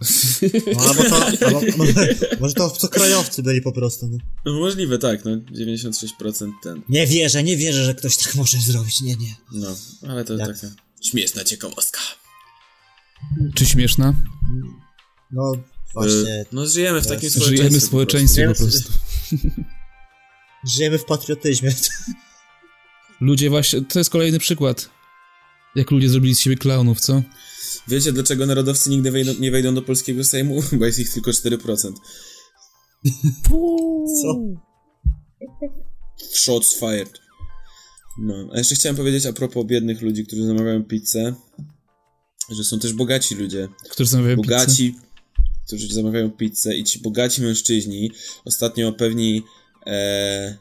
Speaker 2: No, albo to, albo, [laughs] może, może to obcokrajowcy byli po prostu. No.
Speaker 3: No, możliwe, tak, no 96% ten.
Speaker 2: Nie wierzę, nie wierzę, że ktoś tak może zrobić, nie, nie.
Speaker 3: No, ale to
Speaker 2: Jak?
Speaker 3: taka śmieszna ciekawostka.
Speaker 1: [laughs] Czy śmieszna?
Speaker 2: No, właśnie,
Speaker 3: Y, No żyjemy w takim
Speaker 1: Żyjemy w
Speaker 2: Żyjemy
Speaker 3: społeczeństwie. po
Speaker 1: społeczeństwie po
Speaker 2: prostu.
Speaker 1: prostu.
Speaker 2: żyjemy w patriotyzmie. [laughs]
Speaker 1: Ludzie właśnie, to jest kolejny przykład. Jak ludzie zrobili z siebie klaunów, co?
Speaker 3: prostu. Wiecie dlaczego narodowcy nigdy wejdą, nie wejdą do polskiego Sejmu? [laughs] Bo jest ich tylko 4%.
Speaker 2: Co?
Speaker 3: Shots fired. No, a jeszcze chciałem powiedzieć a propos biednych ludzi, którzy zamawiają pizzę, że są też bogaci ludzie.
Speaker 1: Którzy zamawiają pizzę.
Speaker 3: bogaci, którzy zamawiają pizzę i ci bogaci mężczyźni, ostatnio pewni e,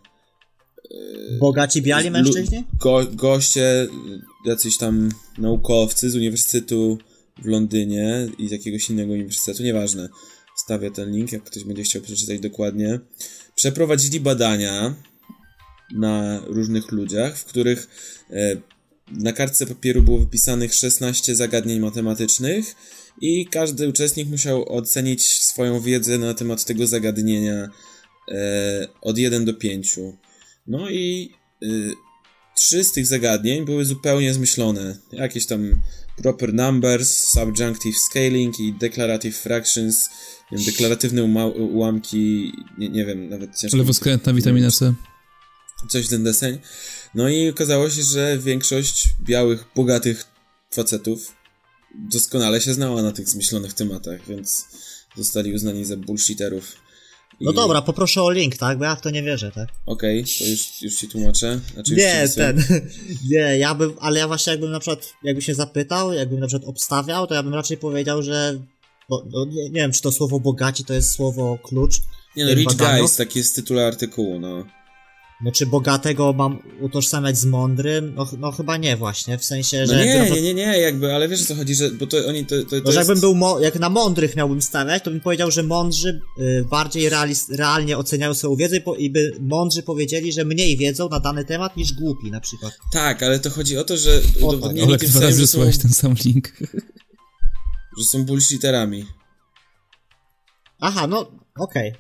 Speaker 2: Bogaci biali
Speaker 3: Lu-
Speaker 2: mężczyźni?
Speaker 3: Go, goście, y, jacyś tam naukowcy z uniwersytetu w Londynie i z jakiegoś innego uniwersytetu, nieważne. Stawię ten link, jak ktoś będzie chciał przeczytać dokładnie. Przeprowadzili badania na różnych ludziach, w których e, na kartce papieru było wypisanych 16 zagadnień matematycznych i każdy uczestnik musiał ocenić swoją wiedzę na temat tego zagadnienia e, od 1 do 5. No i y, trzy z tych zagadnień były zupełnie zmyślone. Jakieś tam proper numbers, subjunctive scaling i declarative fractions, nie wiem, deklaratywne uma- ułamki, nie, nie wiem, nawet ciężko...
Speaker 1: Lewoskrętna witamina C.
Speaker 3: Coś w ten deseń. No i okazało się, że większość białych, bogatych facetów doskonale się znała na tych zmyślonych tematach, więc zostali uznani za bullshitterów. I-
Speaker 2: No dobra, poproszę o link, tak? Bo ja w to nie wierzę, tak?
Speaker 3: Okej, to już, już ci tłumaczę. Znaczy, już ci
Speaker 2: Nie,
Speaker 3: wysyłam.
Speaker 2: ten. [laughs] Nie, ja bym, ale ja właśnie jakbym na przykład, jakby się zapytał, jakbym na przykład obstawiał, to ja bym raczej powiedział, że. Bo, no, nie, nie wiem, czy to słowo bogaci to jest słowo klucz.
Speaker 3: Nie no,
Speaker 2: Ten
Speaker 3: Rich
Speaker 2: badano?
Speaker 3: Guys, taki jest tytuł artykułu, no.
Speaker 2: No, czy bogatego mam utożsamiać z mądrym? No, ch- no chyba nie, właśnie. W sensie, że.
Speaker 3: No
Speaker 2: jakby na
Speaker 3: nie,
Speaker 2: przykład-
Speaker 3: nie, nie, nie, jakby, ale wiesz o co chodzi, że, bo to oni, to, to, to
Speaker 2: No, że
Speaker 3: jest...
Speaker 2: jakbym był, mo- jak na mądrych miałbym stawiać, to bym powiedział, że mądrzy y, bardziej realis- realnie oceniają swoją wiedzę i, po- i by mądrzy powiedzieli, że mniej wiedzą na dany temat niż głupi na przykład.
Speaker 3: Tak, ale to chodzi o to, że udowodnili
Speaker 1: Ale
Speaker 2: tak.
Speaker 3: tym
Speaker 1: dwa
Speaker 3: samym,
Speaker 1: razy
Speaker 3: że są,
Speaker 1: wysłałeś ten sam link.
Speaker 3: że są bullshitterami.
Speaker 2: Aha, no, okej.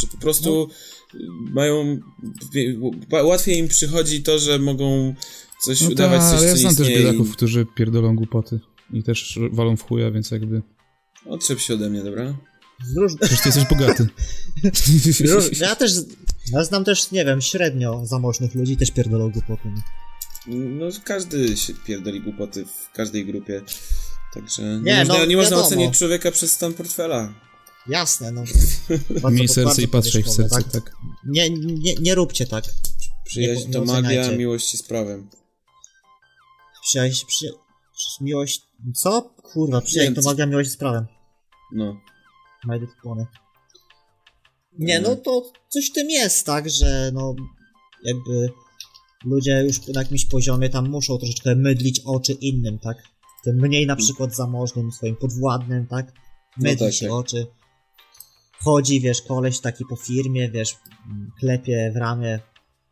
Speaker 3: Że po prostu y, mają... wie- ł- Łatwiej im przychodzi to, że mogą coś
Speaker 1: No
Speaker 3: udawać,
Speaker 1: ta,
Speaker 3: coś,
Speaker 1: ale ja
Speaker 3: co
Speaker 1: znam też
Speaker 3: istnieje
Speaker 1: biedaków, którzy pierdolą głupoty. I też walą w chuja, więc jakby...
Speaker 3: i... Otrzep się ode mnie, dobra?
Speaker 2: Z róż-
Speaker 1: Przecież ty jesteś
Speaker 2: [laughs]
Speaker 1: bogaty.
Speaker 2: Róż-
Speaker 3: [laughs]
Speaker 2: Ja też. Ja znam też, nie wiem, średnio zamożnych ludzi, też pierdolą głupoty. no.
Speaker 3: No, każdy się pierdoli głupoty w każdej grupie. Także nie,
Speaker 2: Nie,
Speaker 3: można,
Speaker 2: no,
Speaker 3: nie można
Speaker 2: wiadomo.
Speaker 3: ocenić człowieka przez stan portfela.
Speaker 2: Jasne, no.
Speaker 1: Miej
Speaker 3: [laughs]
Speaker 2: Bardzo-
Speaker 1: serce i
Speaker 2: bardzo
Speaker 1: patrzaj w
Speaker 2: powierzchowne,
Speaker 1: serce, tak?
Speaker 2: Nie, nie, nie róbcie tak.
Speaker 3: tak. Przyjaźń
Speaker 2: nie
Speaker 3: to magia,
Speaker 2: oceniajcie.
Speaker 3: miłość jest prawem.
Speaker 2: Przyjaźń, przy... przy- miłość... Co? Kurwa, przyjaźń
Speaker 3: Nie,
Speaker 2: to
Speaker 3: co-
Speaker 2: magia, miłość z prawem.
Speaker 3: No.
Speaker 2: Majdy Pony. Nie, no to coś w tym jest, tak, że no jakby ludzie już na jakimś poziomie tam muszą troszeczkę mydlić oczy innym, tak? Tym mniej na przykład zamożnym, swoim podwładnym, tak?
Speaker 3: No
Speaker 2: Mydli
Speaker 3: tak,
Speaker 2: się
Speaker 3: tak.
Speaker 2: oczy. Chodzi, wiesz, koleś taki po firmie, wiesz, m, klepie w ramię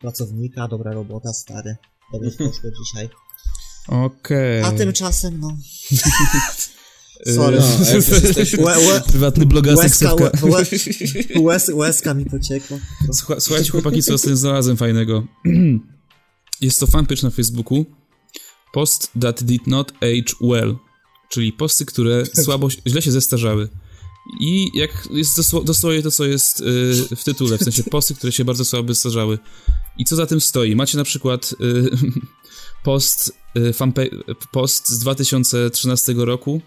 Speaker 2: pracownika, dobra robota, stary.
Speaker 3: [laughs]
Speaker 2: Dobrze poszło dzisiaj.
Speaker 1: Okej. Y,
Speaker 2: A tymczasem, no... Sorry.
Speaker 3: No, a jak już jesteśmy...
Speaker 2: Łe, łe,
Speaker 1: y, [laughs] Prywatny blogasek
Speaker 2: łezka, łe,
Speaker 1: Sepka.
Speaker 2: łe, łez, łezka mi
Speaker 3: [laughs]
Speaker 2: pociekła.
Speaker 1: Słucha- Słuchajcie, chłopaki, co sobie znalazłem fajnego. [clears throat] Jest to fanpage na Facebooku. Post that did not age well. Czyli posty, które słabo, źle się zestarzały. I jak jest dosło- dosłownie to, co jest y, w tytule, w sensie posty, które się bardzo słabo zestarzały. I co za tym stoi? Macie na przykład y, [laughs] post, y, fanpa- post z 2013 roku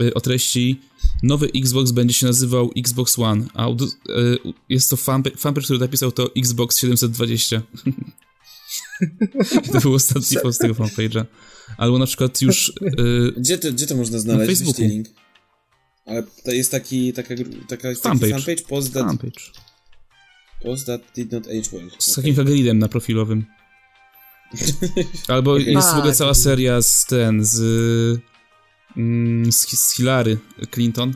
Speaker 1: y, o treści nowy Xbox będzie się nazywał Xbox One, a ud- y, jest to fanpage, fanpage, który napisał to Xbox 720. [laughs] to był ostatni post tego fanpage'a. Albo na przykład już y,
Speaker 3: Gdzie to, gdzie to można znaleźć? Weź
Speaker 1: Facebooku.
Speaker 3: ten link. Ale to jest taki, taka, gru- taka, taki
Speaker 1: Fanpage.
Speaker 3: fanpage, fanpage post, that,
Speaker 1: fanpage.
Speaker 3: post that did not age well.
Speaker 1: Z
Speaker 3: Okej.
Speaker 1: takim Hagelidem na profilowym. Albo
Speaker 3: Okej.
Speaker 1: jest w ogóle
Speaker 2: Tak.
Speaker 1: cała seria z ten, z, mm, z, z Hillary Clinton,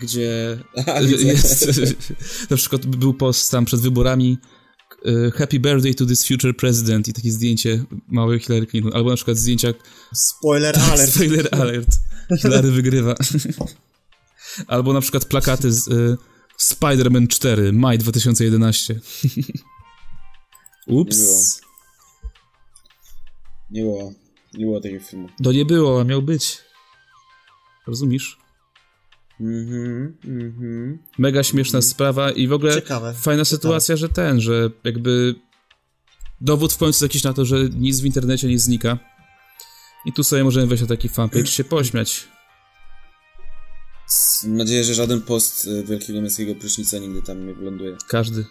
Speaker 1: gdzie
Speaker 3: A, widzę.
Speaker 1: [laughs] jest,
Speaker 3: [laughs]
Speaker 1: [laughs] na przykład był post tam przed wyborami y, Happy birthday to this future president i takie zdjęcie małej Hillary Clinton, albo na przykład zdjęcia
Speaker 2: Spoiler
Speaker 1: alert.
Speaker 2: alert.
Speaker 1: Spoiler alert. Hillary wygrywa. [laughs] Albo na przykład plakaty z y, Spider-Man 4, maj 2011.
Speaker 3: Nie było.
Speaker 1: Ups.
Speaker 3: Nie było. Nie było takiego filmu.
Speaker 1: To nie było, a miał być. Rozumiesz?
Speaker 3: Mhm, mhm.
Speaker 1: Mega śmieszna sprawa i w ogóle [laughs]
Speaker 2: Ciekawe.
Speaker 1: fajna sytuacja, że ten, że jakby dowód w końcu jakiś na to, że nic w internecie nie znika. I tu sobie możemy wejść na taki fanpage się pośmiać.
Speaker 3: Mam nadzieję, że żaden post y, Wielkiego Męskiego Prysznica nigdy tam nie wyląduje.
Speaker 1: Każdy.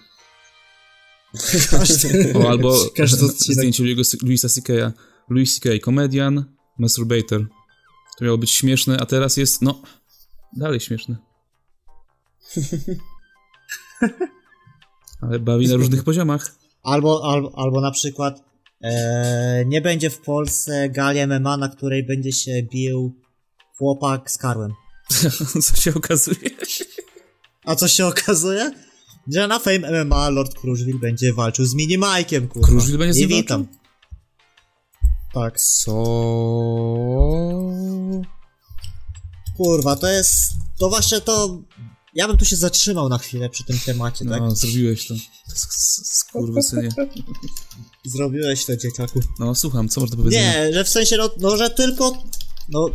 Speaker 2: Każdy. [laughs]
Speaker 1: O, albo [laughs]
Speaker 2: Każdy odcinek.
Speaker 1: zdjęcie Louis- Louisa C.K.'a. Louis C.K. komedian, masturbator. To miało być śmieszne, a teraz jest, no, dalej
Speaker 2: [laughs]
Speaker 1: śmieszne. Ale bawi na różnych poziomach. [laughs]
Speaker 2: Albo, albo, albo na przykład e, nie będzie w Polsce gali MMA, na której będzie się bił chłopak z karłem.
Speaker 1: Co się okazuje?
Speaker 2: A co się [laughs] okazuje? Że na Fame MMA Lord Kruszwil będzie walczył z Minimajkiem, kurwa.
Speaker 1: Kruszwil będzie z
Speaker 2: I
Speaker 1: nim
Speaker 2: witam. Tak.
Speaker 1: Co?
Speaker 2: Kurwa, to jest... To właśnie to... Ja bym tu się zatrzymał na chwilę przy tym temacie, tak?
Speaker 1: No,
Speaker 2: [laughs]
Speaker 1: zrobiłeś to. Skurwysynie.
Speaker 2: Zrobiłeś to, dzieciaku.
Speaker 1: No, słucham, co masz do powiedzenia?
Speaker 2: Nie, że w sensie, no, no że tylko. No.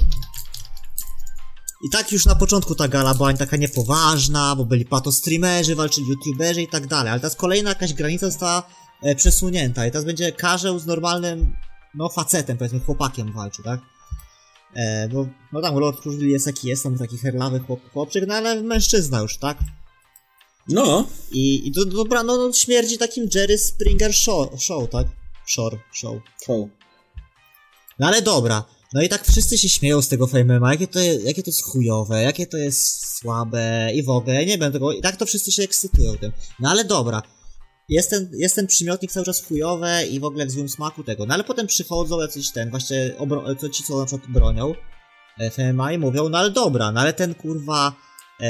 Speaker 2: I tak już na początku ta gala była taka niepoważna, bo byli patostreamerzy, walczyli youtuberzy i tak dalej, ale teraz kolejna jakaś granica została e, przesunięta i teraz będzie każeł z normalnym, no facetem, powiedzmy, chłopakiem walczył, tak? E, bo, no tam Lord Kruszwil jest jaki jest, tam taki herlawy chłop, chłopczyk, no ale mężczyzna już, tak?
Speaker 3: No!
Speaker 2: I, i do, dobra, no, no śmierdzi takim Jerry Springer show, show tak? Shore, show.
Speaker 3: Wow.
Speaker 2: No ale dobra. No i tak wszyscy się śmieją z tego FameMA, jakie to, je- jakie to jest chujowe, jakie to jest słabe i w ogóle, ja nie będę tego, i tak to wszyscy się ekscytują tym. No ale dobra, jest ten, jest ten przymiotnik cały czas chujowe i w ogóle w złym smaku tego, no ale potem przychodzą jacyś ten, właśnie obro- co ci co na przykład bronią e, FMA i mówią, no ale dobra, no ale ten kurwa, e,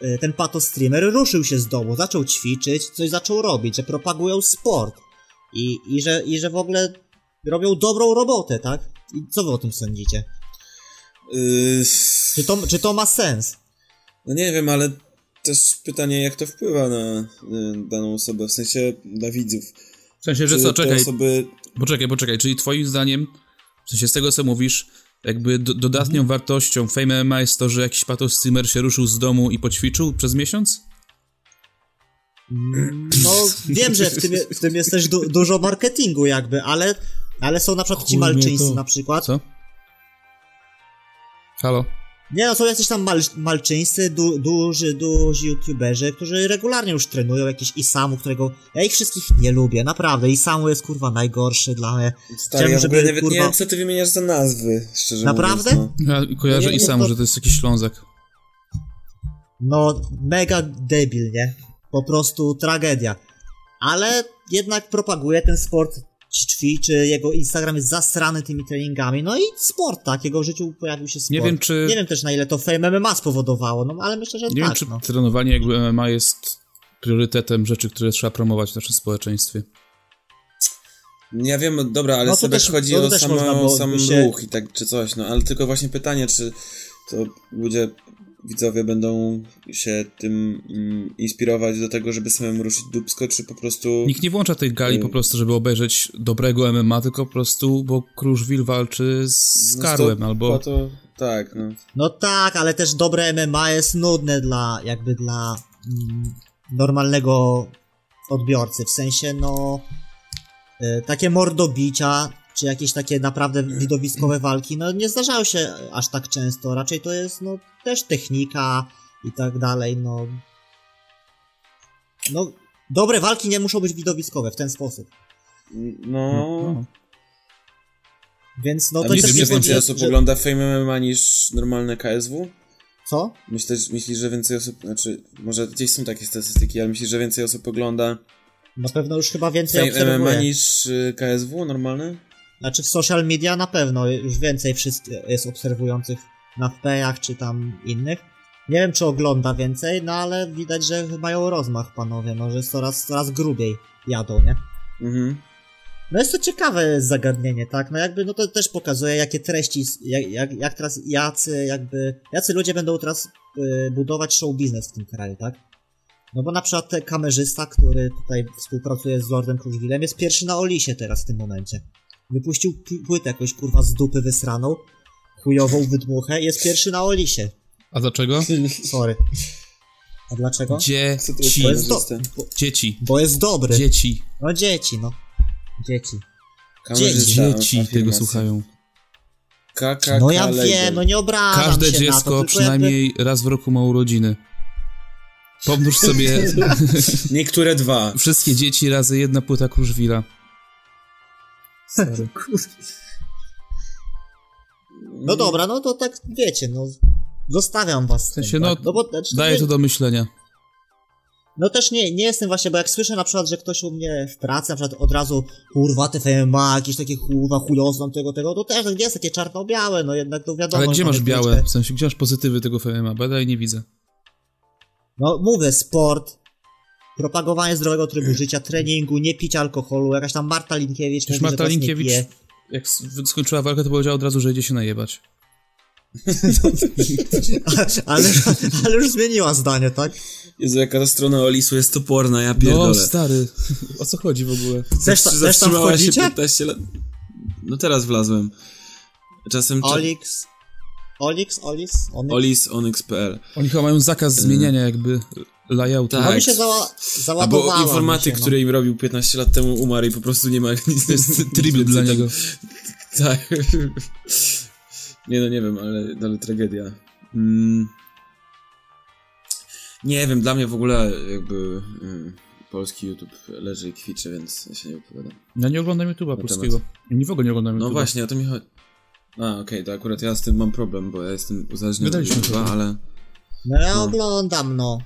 Speaker 2: e, ten pato streamer ruszył się z domu, zaczął ćwiczyć, coś zaczął robić, że propagują sport i, i, że, i że w ogóle robią dobrą robotę, tak? I co wy o tym sądzicie?
Speaker 3: Yy,
Speaker 2: Czy to, czy to ma sens?
Speaker 3: no nie wiem, ale też pytanie, jak to wpływa na y, daną osobę, w sensie dla widzów.
Speaker 1: W sensie, że
Speaker 3: Czy
Speaker 1: co,
Speaker 3: te
Speaker 1: czekaj,
Speaker 3: osoby...
Speaker 1: poczekaj, poczekaj, czyli twoim zdaniem, w sensie z tego, co mówisz, jakby do, dodatnią
Speaker 2: Mhm.
Speaker 1: wartością Fame MMA jest to, że jakiś patos streamer się ruszył z domu i poćwiczył przez miesiąc?
Speaker 2: No, wiem, że w tym, w tym jest też du, dużo marketingu jakby, ale, ale są na przykład ci
Speaker 1: Chuj mnie
Speaker 2: malczyńscy
Speaker 1: to.
Speaker 2: na przykład.
Speaker 1: Co? Halo?
Speaker 2: Nie no, są jacyś tam mal, malczyńscy, du, duży, duzi youtuberzy, którzy regularnie już trenują jakiś Isamu, którego... Ja ich wszystkich nie lubię, naprawdę. Isamu jest kurwa najgorszy dla mnie.
Speaker 3: Stary, ja w
Speaker 2: żeby,
Speaker 3: ogóle nawet nie
Speaker 2: kurwa-
Speaker 3: wiem, co ty wymieniasz za nazwy, szczerze
Speaker 2: Naprawdę?
Speaker 3: mówiąc. No.
Speaker 1: Ja
Speaker 2: No
Speaker 1: kojarzę
Speaker 2: nie,
Speaker 1: i
Speaker 2: no
Speaker 1: sam,
Speaker 2: to-
Speaker 1: że to jest jakiś ślązak.
Speaker 2: No, mega debil, nie? Po prostu tragedia. Ale jednak propaguje ten sport, ci ćwiczy, jego Instagram jest zasrany tymi treningami, no i sport, tak? Jego w życiu pojawił się sport.
Speaker 1: Nie wiem, czy-
Speaker 2: Nie wiem też na ile to Fame MMA spowodowało, no ale myślę, że
Speaker 1: Nie
Speaker 2: tak,
Speaker 1: wiem, czy
Speaker 2: no.
Speaker 1: trenowanie jakby MMA jest priorytetem rzeczy, które trzeba promować w naszym społeczeństwie.
Speaker 3: Ja wiem, dobra, ale
Speaker 2: No to
Speaker 3: sobie
Speaker 2: też-
Speaker 3: chodzi
Speaker 2: no to
Speaker 3: o
Speaker 2: też
Speaker 3: samo,
Speaker 2: można byłoby
Speaker 3: sam
Speaker 2: się-
Speaker 3: ruch i tak, czy coś, no, ale tylko właśnie pytanie, czy to ludzie, widzowie będą się tym mm, inspirować do tego, żeby samemu ruszyć dupsko, czy po prostu...
Speaker 1: Nikt nie włącza tej gali
Speaker 3: Y-
Speaker 1: po prostu, żeby obejrzeć dobrego MMA, tylko po prostu, bo Kruszwil walczy z Karłem,
Speaker 3: to-
Speaker 1: albo...
Speaker 3: po To, tak, no.
Speaker 2: No tak, ale też dobre MMA jest nudne dla, jakby dla mm, normalnego odbiorcy, w sensie no y, takie mordobicia, czy jakieś takie naprawdę widowiskowe walki, no nie zdarzają się aż tak często, raczej to jest no też technika i tak dalej, no no dobre walki nie muszą być widowiskowe w ten sposób,
Speaker 3: No...
Speaker 2: więc no
Speaker 3: A
Speaker 2: to
Speaker 3: myślisz,
Speaker 2: też nie
Speaker 3: że
Speaker 1: chodzi,
Speaker 3: więcej
Speaker 2: będzie,
Speaker 3: osób ogląda Fame MMA niż normalne KSW?
Speaker 2: co?
Speaker 3: Myślę, że, myślisz, że więcej osób, znaczy, może gdzieś są takie statystyki, ale myślisz, że więcej osób ogląda
Speaker 2: Na pewno już chyba więcej
Speaker 3: Fame MMA
Speaker 2: obserwuję.
Speaker 3: niż y, KSW normalne?
Speaker 2: Znaczy w social media na pewno już więcej wszystkich jest obserwujących na wpejach czy tam innych. Nie wiem czy ogląda więcej, no ale widać, że mają rozmach panowie, no że coraz, coraz grubiej jadą, nie?
Speaker 3: Mhm.
Speaker 2: No jest to ciekawe zagadnienie, tak? No jakby, no to też pokazuje jakie treści, jak, jak, jak teraz jacy jakby, jacy ludzie będą teraz y, budować show biznes w tym kraju, tak? No bo na przykład ten kamerzysta, który tutaj współpracuje z Lordem Kruszwilem, jest pierwszy na Olisie teraz w tym momencie. Wypuścił pi- płytę jakąś kurwa z dupy wysraną, chujową wydmuchę i jest pierwszy na Olisie.
Speaker 1: A dlaczego?
Speaker 3: [laughs]
Speaker 2: Sorry. A dlaczego?
Speaker 1: Dzieci.
Speaker 2: Bo jest, do...
Speaker 3: Kamerzysta.
Speaker 2: bo,
Speaker 1: Dzieci.
Speaker 2: bo jest dobry.
Speaker 1: Dzieci.
Speaker 2: No dzieci, no. Dzieci.
Speaker 3: Kamerzysta,
Speaker 2: Tak,
Speaker 1: Dzieci
Speaker 3: afirmacja.
Speaker 1: tego słuchają.
Speaker 3: KKK
Speaker 2: No ja
Speaker 3: label.
Speaker 2: wiem, no nie obrażam
Speaker 1: Każde
Speaker 2: się na to,
Speaker 1: dziecko
Speaker 2: tylko
Speaker 1: przynajmniej raz w roku ma urodziny. Pomnóż sobie
Speaker 2: [laughs]
Speaker 3: Niektóre dwa.
Speaker 1: wszystkie dzieci razy jedna płyta Kruszwila.
Speaker 2: Jakby... No dobra, no to tak wiecie, no zostawiam was. W
Speaker 1: sensie,
Speaker 2: tym,
Speaker 1: no,
Speaker 2: tak? bo, znaczy,
Speaker 1: Daje to
Speaker 2: nie,
Speaker 1: do myślenia.
Speaker 2: no też nie, nie jestem właśnie, bo jak słyszę na przykład, że ktoś u mnie w pracy, na przykład od razu kurwa te ma jakieś takie kurwa chujozną tego, tego, to też nie jest takie czarno-białe, no jednak to wiadomo.
Speaker 1: Ale
Speaker 2: że
Speaker 1: gdzie masz
Speaker 2: mamy
Speaker 1: białe?
Speaker 2: krótkie-
Speaker 1: W sensie, gdzie masz pozytywy tego FMA? Bo ja dalej nie widzę.
Speaker 2: No mówię, sport, propagowanie zdrowego trybu życia, treningu, nie picia alkoholu, jakaś tam Marta Linkiewicz
Speaker 1: Przecież
Speaker 2: mówi,
Speaker 1: Marta
Speaker 2: że teraz
Speaker 1: Linkiewicz
Speaker 2: nie pije. [laughs]
Speaker 1: jak s- skończyła walkę, to powiedziała od razu, że idzie się najebać.
Speaker 2: ale, ale już zmieniła zdanie, tak?
Speaker 3: Jezu, jaka ta strona Olisu jest toporna, ja
Speaker 1: No,
Speaker 3: pierdolę.
Speaker 1: stary. [laughs] O co chodzi w ogóle?
Speaker 2: Też,
Speaker 3: Zawsze
Speaker 2: też tam
Speaker 3: zatrzymała się
Speaker 2: wchodzicie?
Speaker 3: 15 lat. No teraz wlazłem. Czasem cza...
Speaker 2: Olix, Olix, Olis, Onyx.
Speaker 3: Olis Onyx.pl.
Speaker 1: Oni chyba mają zakaz
Speaker 2: Y.
Speaker 1: zmieniania jakby y, layoutu.
Speaker 3: Tak.
Speaker 2: No mi się zała-
Speaker 3: Albo
Speaker 2: załadowała. mi
Speaker 3: informatyk,
Speaker 2: się, no.
Speaker 3: który im robił 15 lat temu umarł i po prostu nie ma [laughs] nic.
Speaker 1: To jest tribut dla niego.
Speaker 3: Tak. Nie no, nie wiem, ale dalej tragedia. Mm. Nie wiem, dla mnie w ogóle jakby mm, polski YouTube leży i kwiczy, więc ja się nie wypowiadam.
Speaker 1: Ja No, nie oglądam YouTube'a polskiego. Nie w ogóle nie oglądam YouTube'a.
Speaker 3: No właśnie, o to mi chodzi. A, okej, to akurat ja z tym mam problem, bo ja jestem uzależniony od
Speaker 1: Wydaliśmy
Speaker 3: YouTube'a,
Speaker 1: chyba.
Speaker 3: ale...
Speaker 2: No ja
Speaker 3: No.
Speaker 2: oglądam, no.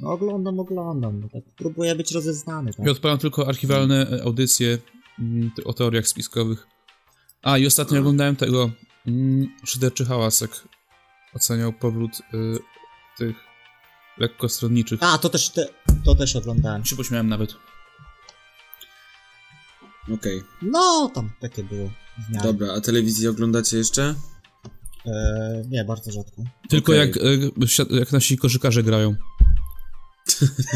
Speaker 2: No oglądam, oglądam. No, tak. Próbuję być rozeznany. Tak.
Speaker 1: Ja odpalam tylko archiwalne e, audycje mm, te- o teoriach spiskowych. A, i ostatnio oglądałem tego mm, Szyderczy Hałasek. Oceniał powrót y, tych lekkostronniczych.
Speaker 3: Tak.
Speaker 2: A, to też, te, to też oglądałem.
Speaker 1: Się pośmiałem nawet.
Speaker 3: Okej,
Speaker 2: No, tam takie było. w miarę.
Speaker 3: dobra, a telewizję oglądacie jeszcze?
Speaker 2: E, nie, bardzo rzadko.
Speaker 1: Tylko
Speaker 3: Okej.
Speaker 1: jak, e, si- jak nasi koszykarze
Speaker 3: [laughs]
Speaker 1: grają.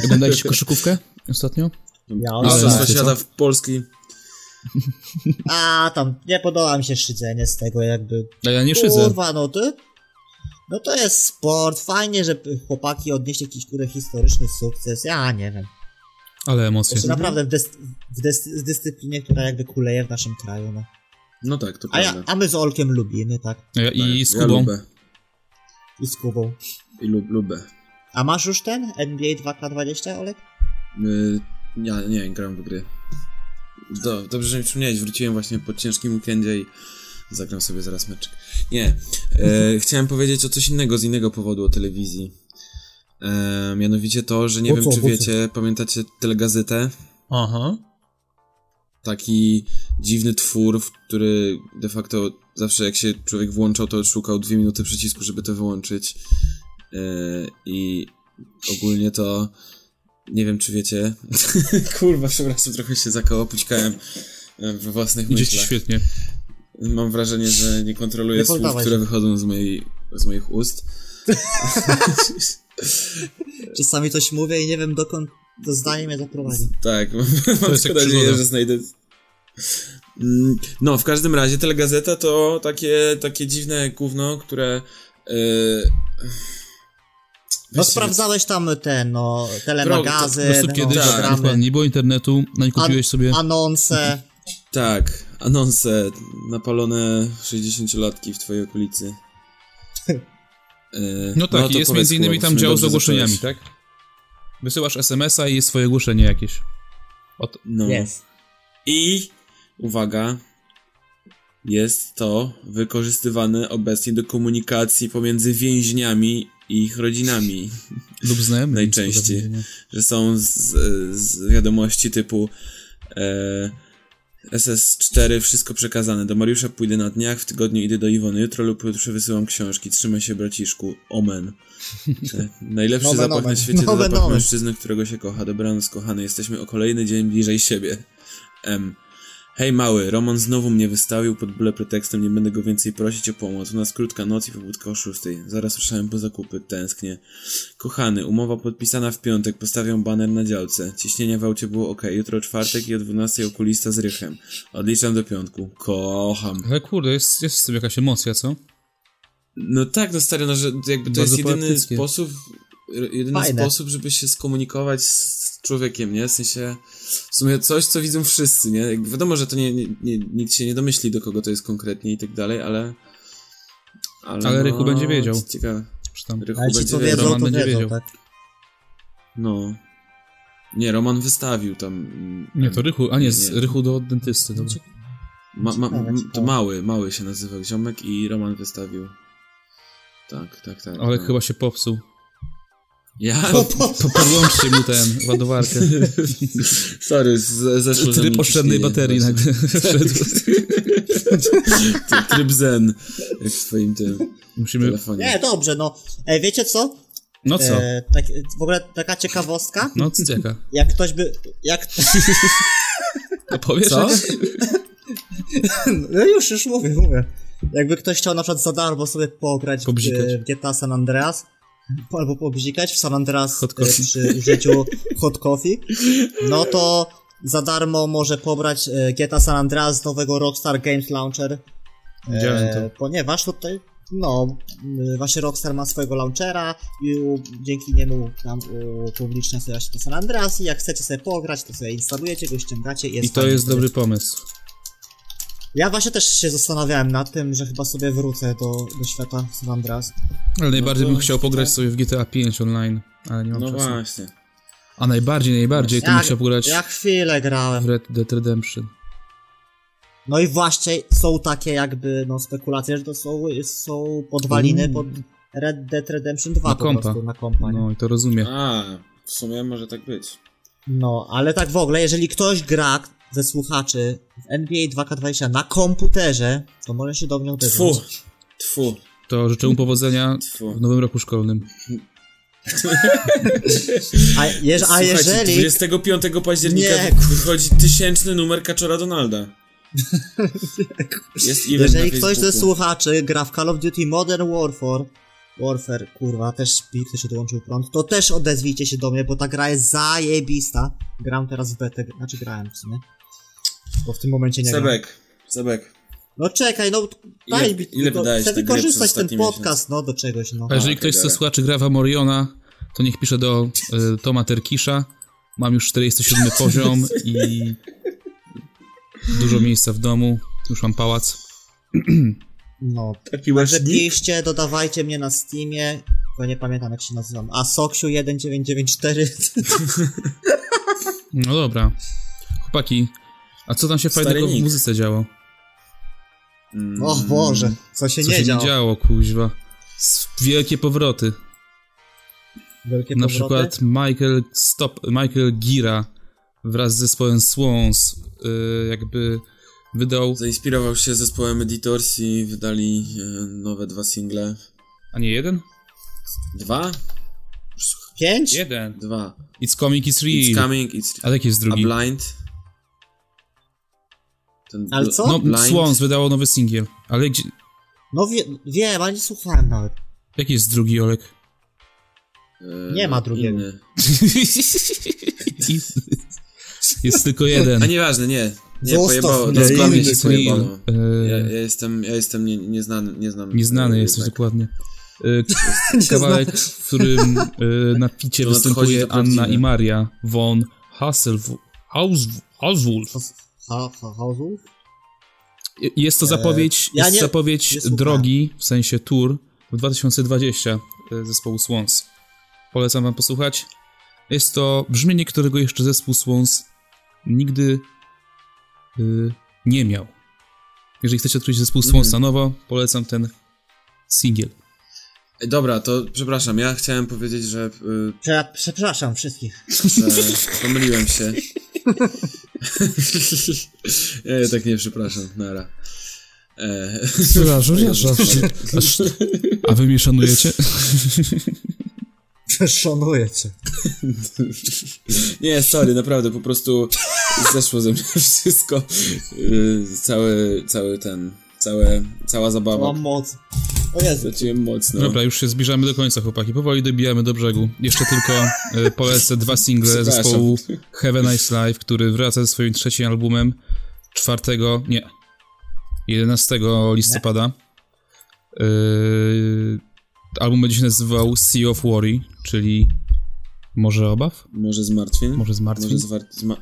Speaker 1: Oglądaliście koszykówkę ostatnio?
Speaker 2: Ja
Speaker 3: Mistrzostwa
Speaker 1: oglądam.
Speaker 3: świata w Polski.
Speaker 2: A, tam nie podoba mi się szydzenie z tego jakby.
Speaker 1: A ja nie szydzę.
Speaker 2: Kurwa, no ty. No to jest sport. Fajnie, że chłopaki odnieśli jakiś kurde historyczny sukces. Ja nie wiem.
Speaker 1: Ale emocje.
Speaker 2: Jeszcze naprawdę w, dys- w dys- dyscyplinie, która jakby kuleje w naszym kraju, no.
Speaker 3: No tak, to
Speaker 2: A,
Speaker 3: prawda.
Speaker 2: ja, a my z Olkiem lubimy, tak?
Speaker 1: Ja,
Speaker 3: Tak,
Speaker 1: I z
Speaker 3: Ja
Speaker 1: Kubą.
Speaker 3: lubę.
Speaker 2: I z Kubą.
Speaker 3: I lub, lubę.
Speaker 2: A masz już ten NBA 2K20, Olek?
Speaker 3: Y, Ja nie gram w gry. Do, dobrze, że mi przypomniałeś, wróciłem właśnie po ciężkim weekendzie i zagram sobie zaraz meczek. Nie,
Speaker 2: [laughs]
Speaker 3: e, chciałem powiedzieć o coś innego, z innego powodu, o telewizji. E, mianowicie to, że nie
Speaker 2: O
Speaker 3: wiem
Speaker 2: co,
Speaker 3: czy
Speaker 2: o co?
Speaker 3: wiecie, pamiętacie telegazetę?
Speaker 4: Aha.
Speaker 3: No Taki dziwny twór, w który de facto zawsze jak się człowiek włączał, to szukał dwie minuty przycisku, żeby to wyłączyć. E, I ogólnie to... Nie wiem, czy wiecie. [laughs] Kurwa, przepraszam, trochę się zakołopućkałem e, we własnych
Speaker 1: Idzie ci
Speaker 3: myślach.
Speaker 1: świetnie.
Speaker 3: Mam wrażenie, że nie kontroluję
Speaker 2: Nie
Speaker 3: słów,
Speaker 2: poddawaj
Speaker 3: które
Speaker 2: się.
Speaker 3: wychodzą z, mojej, z moich ust.
Speaker 2: Czasami coś mówię i nie wiem dokąd to zdanie mnie zaprowadzi.
Speaker 3: Tak, [laughs] mam
Speaker 1: jest
Speaker 3: tylko
Speaker 1: jak
Speaker 3: nadzieję,
Speaker 1: przygoda.
Speaker 3: że znajdę. Mm, No, w każdym razie telegazeta to takie, takie dziwne gówno, które. Yy...
Speaker 2: No
Speaker 3: Weźcie-
Speaker 2: sprawdzałeś tam ten, no, telemagazyn,
Speaker 1: Po prostu kiedyś,
Speaker 2: no,
Speaker 3: tak,
Speaker 1: dokładnie,
Speaker 2: programy,
Speaker 1: nie było internetu, no i kupiłeś sobie...
Speaker 2: anonse.
Speaker 3: Tak, anonse, napalone 60-latki w twojej
Speaker 1: [laughs]
Speaker 3: okolicy. Yy,
Speaker 1: No tak,
Speaker 3: to
Speaker 1: i jest
Speaker 3: powiedz,
Speaker 1: między innymi
Speaker 3: kurwa,
Speaker 1: tam
Speaker 3: w sumie
Speaker 1: dział z
Speaker 3: dobrze
Speaker 1: ogłoszeniami,
Speaker 3: zacząłeś.
Speaker 1: tak? Wysyłasz SMS-a i jest swoje ogłoszenie jakieś.
Speaker 3: No.
Speaker 2: Jest.
Speaker 3: I uwaga, jest to wykorzystywane obecnie do komunikacji pomiędzy więźniami i ich rodzinami.
Speaker 1: Lub znajomych.
Speaker 3: Najczęściej. Że są z, z wiadomości typu e, SS4 wszystko przekazane. Do Mariusza pójdę na dniach, w tygodniu idę do Iwony, jutro lub jutrze wysyłam książki. Trzymaj się braciszku. Omen. E, Najlepszy
Speaker 2: Nomen,
Speaker 3: zapach na
Speaker 2: omen.
Speaker 3: świecie to
Speaker 2: Nomen,
Speaker 3: zapach
Speaker 2: omen.
Speaker 3: mężczyzny, którego się kocha. Dobranoc kochany, jesteśmy o kolejny dzień bliżej siebie. M. Hej mały, Roman znowu mnie wystawił pod byle pretekstem, nie będę go więcej prosić o pomoc. U nas krótka noc i pobudka o szóstej. Zaraz ruszałem po zakupy, tęsknię. Kochany, umowa podpisana w piątek, postawiam baner na działce. Ciśnienie w aucie było ok, jutro czwartek i o 12 okulista z rychem. Odliczam do piątku. Kocham.
Speaker 1: Ale kurde, jest, jest w sobie jakaś emocja, co?
Speaker 3: No tak, no stary, no, że jakby
Speaker 1: Bardzo
Speaker 3: to jest jedyny
Speaker 1: poetyckie.
Speaker 3: sposób, jedyny
Speaker 2: Fajne.
Speaker 3: sposób, żeby się skomunikować z człowiekiem, nie? W sensie, w sumie coś, co widzą wszyscy, nie? Jakby wiadomo, że to nie, nie, nie, nikt się nie domyśli, do kogo to jest konkretnie i tak dalej, ale... no,
Speaker 1: Ale Ryku będzie wiedział.
Speaker 3: to Ciekawe.
Speaker 1: Czy tam...
Speaker 3: Ryku
Speaker 2: Ale ci
Speaker 3: będzie
Speaker 2: powiedzą,
Speaker 3: wiedział.
Speaker 1: Roman
Speaker 2: to
Speaker 1: będzie
Speaker 2: wiedzą,
Speaker 1: wiedział.
Speaker 2: tak?
Speaker 1: [laughs]
Speaker 3: No. Nie, Roman wystawił tam... mm,
Speaker 1: Nie, to Rychu, a nie, z
Speaker 3: Nie.
Speaker 1: Rychu do dentysty, dobra.
Speaker 3: Ma, ma,
Speaker 2: Ciekawe,
Speaker 3: m- to
Speaker 2: ciekawe.
Speaker 3: mały, mały się nazywał ziomek i Roman wystawił. Tak, tak, tak.
Speaker 1: Ale
Speaker 3: no.
Speaker 1: chyba się popsuł.
Speaker 3: Ja...
Speaker 2: Po, No, po,
Speaker 1: Po- Podłączcie mu ten, ładowarkę.
Speaker 3: [laughs] Sorry, z- zeszło ze
Speaker 1: Tryb
Speaker 3: mnie
Speaker 1: oszczędnej
Speaker 3: ciśnienie.
Speaker 1: baterii nagle [laughs] wszedł.
Speaker 3: Ty- [laughs] Tryb zen, jak w twoim tym
Speaker 1: Musimy...
Speaker 3: telefonie.
Speaker 2: nie, dobrze, no. E, wiecie co?
Speaker 1: No co?
Speaker 2: E, tak, w ogóle taka ciekawostka.
Speaker 1: No, c- jaka?
Speaker 2: Jak ktoś by... Jak...
Speaker 1: Opowiesz?
Speaker 3: Co?
Speaker 1: jakaś?
Speaker 2: [laughs] No już, już mówię, mówię. Jakby ktoś chciał na przykład za darmo sobie pograć w,
Speaker 1: Pobzikać.
Speaker 2: e, w GTA San Andreas, po- albo pobzikać w San Andreas
Speaker 1: Hot
Speaker 2: e,
Speaker 1: coffee.
Speaker 2: przy
Speaker 1: [laughs]
Speaker 2: użyciu Hot Coffee, no to za darmo może pobrać e, GTA San Andreas z nowego Rockstar Games Launcher. E,
Speaker 1: Widziałem to.
Speaker 2: Ponieważ tutaj, no, m, właśnie Rockstar ma swojego launchera i u- dzięki niemu tam publicznie sobie właśnie to San Andreas i jak chcecie sobie pograć, to sobie instalujecie go, ściągacie i
Speaker 1: I
Speaker 2: jest
Speaker 1: to
Speaker 2: fajnie
Speaker 1: jest
Speaker 2: wtedy.
Speaker 1: dobry pomysł.
Speaker 2: Ja właśnie też się zastanawiałem nad tym, że chyba sobie wrócę do, do świata San Andreas.
Speaker 1: Ale najbardziej
Speaker 3: to-
Speaker 1: bym chciał pograć sobie w GTA 5 online, ale nie mam
Speaker 3: No
Speaker 1: czasu.
Speaker 3: właśnie.
Speaker 1: A najbardziej, najbardziej to bym
Speaker 2: Ja,
Speaker 1: chciał pograć
Speaker 2: ja chwilę
Speaker 1: w
Speaker 2: grałem.
Speaker 1: Red Dead Redemption.
Speaker 2: No i właśnie są takie jakby no spekulacje, że to są, są podwaliny
Speaker 1: Mm.
Speaker 2: pod Red Dead Redemption 2
Speaker 1: Na
Speaker 2: po
Speaker 1: kompa.
Speaker 2: prostu na kompa. No.
Speaker 1: No i to rozumiem.
Speaker 3: A, w sumie może tak być.
Speaker 2: no, ale tak w ogóle, jeżeli ktoś gra ze słuchaczy w NBA 2K20 na komputerze, to może się do mnie
Speaker 3: Tfu,
Speaker 2: odezwać.
Speaker 3: tfu,
Speaker 1: To życzę mu powodzenia w
Speaker 3: tfu.
Speaker 1: nowym roku szkolnym.
Speaker 2: A, jeż, a
Speaker 3: Słuchajcie,
Speaker 2: jeżeli...
Speaker 3: 25 października
Speaker 2: Nie.
Speaker 3: wychodzi tysięczny numer Kaczora Donalda.
Speaker 2: [laughs]
Speaker 3: Jest event
Speaker 2: Jeżeli
Speaker 3: na
Speaker 2: ktoś ze
Speaker 3: Facebooku.
Speaker 2: słuchaczy gra w Call of Duty Modern Warfare, Warfare, kurwa, też mi ktoś odłączył prąd, to też odezwijcie się do mnie, bo ta gra jest zajebista. Gram teraz w betę, znaczy grałem w sumie. Bo w tym momencie nie gram.
Speaker 3: Sebek, Sebek.
Speaker 2: No czekaj, no
Speaker 3: Ile-
Speaker 2: daj mi,
Speaker 3: ile
Speaker 2: to,
Speaker 3: wydałeś
Speaker 2: chcę
Speaker 3: na gry
Speaker 2: wykorzystać
Speaker 3: przez
Speaker 2: ten
Speaker 3: ostatni
Speaker 2: podcast, no do czegoś, no.
Speaker 1: A jeżeli
Speaker 3: tak
Speaker 1: ktoś ze
Speaker 3: dalej.
Speaker 1: słuchaczy gra w Amoriona, to niech pisze do y, Toma Terkisza. Mam już
Speaker 3: [laughs]
Speaker 1: 47 poziom i dużo miejsca w domu. Już mam pałac.
Speaker 2: No,
Speaker 5: Taki właśnie nick.
Speaker 2: Piszcie, dodawajcie mnie na Steamie, bo nie pamiętam jak się nazywam. A Soksiu1994.
Speaker 1: No dobra. Chłopaki, a co tam się
Speaker 3: Stary
Speaker 1: fajnego w
Speaker 3: nick.
Speaker 1: muzyce działo?
Speaker 3: Mm.
Speaker 2: [laughs] O Boże, co się
Speaker 1: Co
Speaker 2: nie
Speaker 1: się
Speaker 2: działo.
Speaker 1: nie działo, kuźwa? S- Wielkie powroty.
Speaker 2: Wielkie
Speaker 1: Na
Speaker 2: powroty.
Speaker 1: przykład Michael Stop, Michael Gira wraz z zespołem Swans y, jakby wydał,
Speaker 3: Zainspirował się zespołem Editors i wydali e, nowe dwa single.
Speaker 1: a nie jeden?
Speaker 3: Dwa?
Speaker 2: Pięć?
Speaker 1: Jeden.
Speaker 3: Dwa.
Speaker 1: It's Coming, It's
Speaker 3: It's
Speaker 1: Real.
Speaker 3: coming, it's...
Speaker 1: A jaki jest
Speaker 3: A
Speaker 1: drugi?
Speaker 3: blind? Ten
Speaker 2: Ale
Speaker 3: bl-
Speaker 2: co?
Speaker 1: No,
Speaker 3: blind?
Speaker 1: Swans wydało nowy singiel. Ale gdzie,
Speaker 2: No wie, wiem, ale nie słuchałem
Speaker 1: [laughs]
Speaker 2: nawet.
Speaker 1: jaki jest drugi,
Speaker 3: [laughs]
Speaker 1: Olek?
Speaker 3: E,
Speaker 2: Nie ma drugiego.
Speaker 3: Inny.
Speaker 1: jest tylko jeden.
Speaker 3: A nieważne, nie. Nie,
Speaker 2: Zostaw
Speaker 3: pojebało,
Speaker 2: mnie,
Speaker 3: dosłownie
Speaker 1: inny
Speaker 3: się
Speaker 1: Queen.
Speaker 3: pojebało.
Speaker 1: Y,
Speaker 3: Ja, ja jestem, ja jestem nie, nieznany, nie znam.
Speaker 1: Nieznany
Speaker 3: e,
Speaker 1: jesteś
Speaker 3: jednak.
Speaker 1: dokładnie. Y, Kawałek, [laughs] w którym y, na picie
Speaker 3: To nadchodzi
Speaker 1: występuje
Speaker 3: to
Speaker 1: Anna
Speaker 3: prawdziwe.
Speaker 1: i Maria von Hasselw- Haus- Hauswulf.
Speaker 2: Ha, ha, Hauswolf?
Speaker 1: Y- Jest to zapowiedź,
Speaker 2: E, ja
Speaker 1: jest
Speaker 2: nie-
Speaker 1: zapowiedź
Speaker 2: nie słucham.
Speaker 1: drogi, w sensie tour w 2020 y, zespołu Swans. Polecam wam posłuchać. Jest to brzmienie, którego jeszcze zespół Swans nigdy y, nie miał. Jeżeli chcecie odkryć zespół Swans
Speaker 2: Mhm.
Speaker 1: na nowo, polecam ten singiel.
Speaker 3: E, Dobra, to przepraszam, ja chciałem powiedzieć, że, y,
Speaker 2: Prze- Przepraszam wszystkich.
Speaker 3: że
Speaker 1: [laughs]
Speaker 3: pomyliłem się. [laughs] ja tak nie przepraszam, nara. E,
Speaker 2: [laughs]
Speaker 1: Przepraszam,
Speaker 3: No, [laughs]
Speaker 1: A wy mnie szanujecie?
Speaker 2: Szanuję cię.
Speaker 3: Nie, sorry, naprawdę, po prostu zeszło ze mnie [laughs] wszystko. Yy, cały, cały ten, całe, cała zabawa.
Speaker 2: Mam moc. O
Speaker 1: E.
Speaker 2: Jezu.
Speaker 3: Straciłem no.
Speaker 1: [laughs]
Speaker 3: mocno.
Speaker 1: Dobra, już się zbliżamy do końca, chłopaki. Powoli dobijamy do brzegu. Jeszcze tylko e, polecę dwa single
Speaker 3: Przepraszam.
Speaker 1: zespołu Have a Nice Life, który wraca ze swoim trzecim albumem 4, nie, 11 listopada. E, album będzie się nazywał Sea of Worry, czyli Morze Obaw?
Speaker 3: Może zmartwień?
Speaker 1: Może
Speaker 3: Może
Speaker 1: Zmartwień?
Speaker 3: zwar- zma-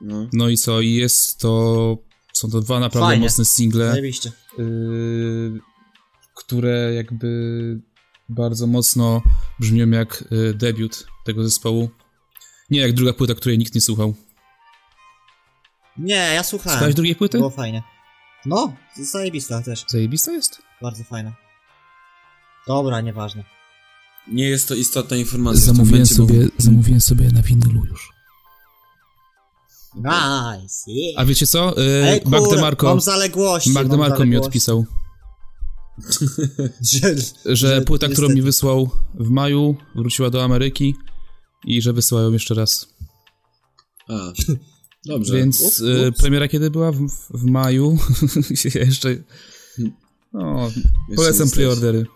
Speaker 3: No.
Speaker 1: No i co, i jest to... Są to dwa naprawdę
Speaker 2: Fajnie.
Speaker 1: mocne single.
Speaker 2: Zajebiście.
Speaker 1: yy, które jakby bardzo mocno brzmią jak yy, debiut tego zespołu. Nie jak druga płyta, której nikt nie słuchał.
Speaker 2: Tak. Nie, ja słuchałem.
Speaker 1: Słuchałeś drugiej płyty?
Speaker 2: Było fajnie. No, zajebista też.
Speaker 1: Zajebista jest.
Speaker 2: Bardzo fajna. Dobra, nieważne.
Speaker 3: Nie No, jest to istotna informacja. w tym momencie, bo-
Speaker 4: zamówiłem sobie na winylu już.
Speaker 2: Nice. Yeah.
Speaker 1: A wiecie co?
Speaker 2: Ej,
Speaker 1: Yy,
Speaker 2: kur-
Speaker 1: Magda Marko,
Speaker 2: E, Mam zaległości.
Speaker 1: Magda
Speaker 2: mam
Speaker 1: Marko mi
Speaker 2: zaległości.
Speaker 1: odpisał,
Speaker 2: Że,
Speaker 1: że
Speaker 2: Że
Speaker 1: płyta, którą mi
Speaker 2: niestety.
Speaker 1: wysłał w maju, wróciła do Ameryki i że wysyła ją jeszcze raz.
Speaker 3: A, dobrze.
Speaker 1: Więc
Speaker 2: Ups,
Speaker 1: yy,
Speaker 2: ups.
Speaker 1: premiera kiedy była? W, w maju. [laughs] Ja jeszcze...
Speaker 2: Hmm.
Speaker 1: No,
Speaker 3: Jeszcze
Speaker 1: polecam
Speaker 3: jesteś.
Speaker 1: preordery.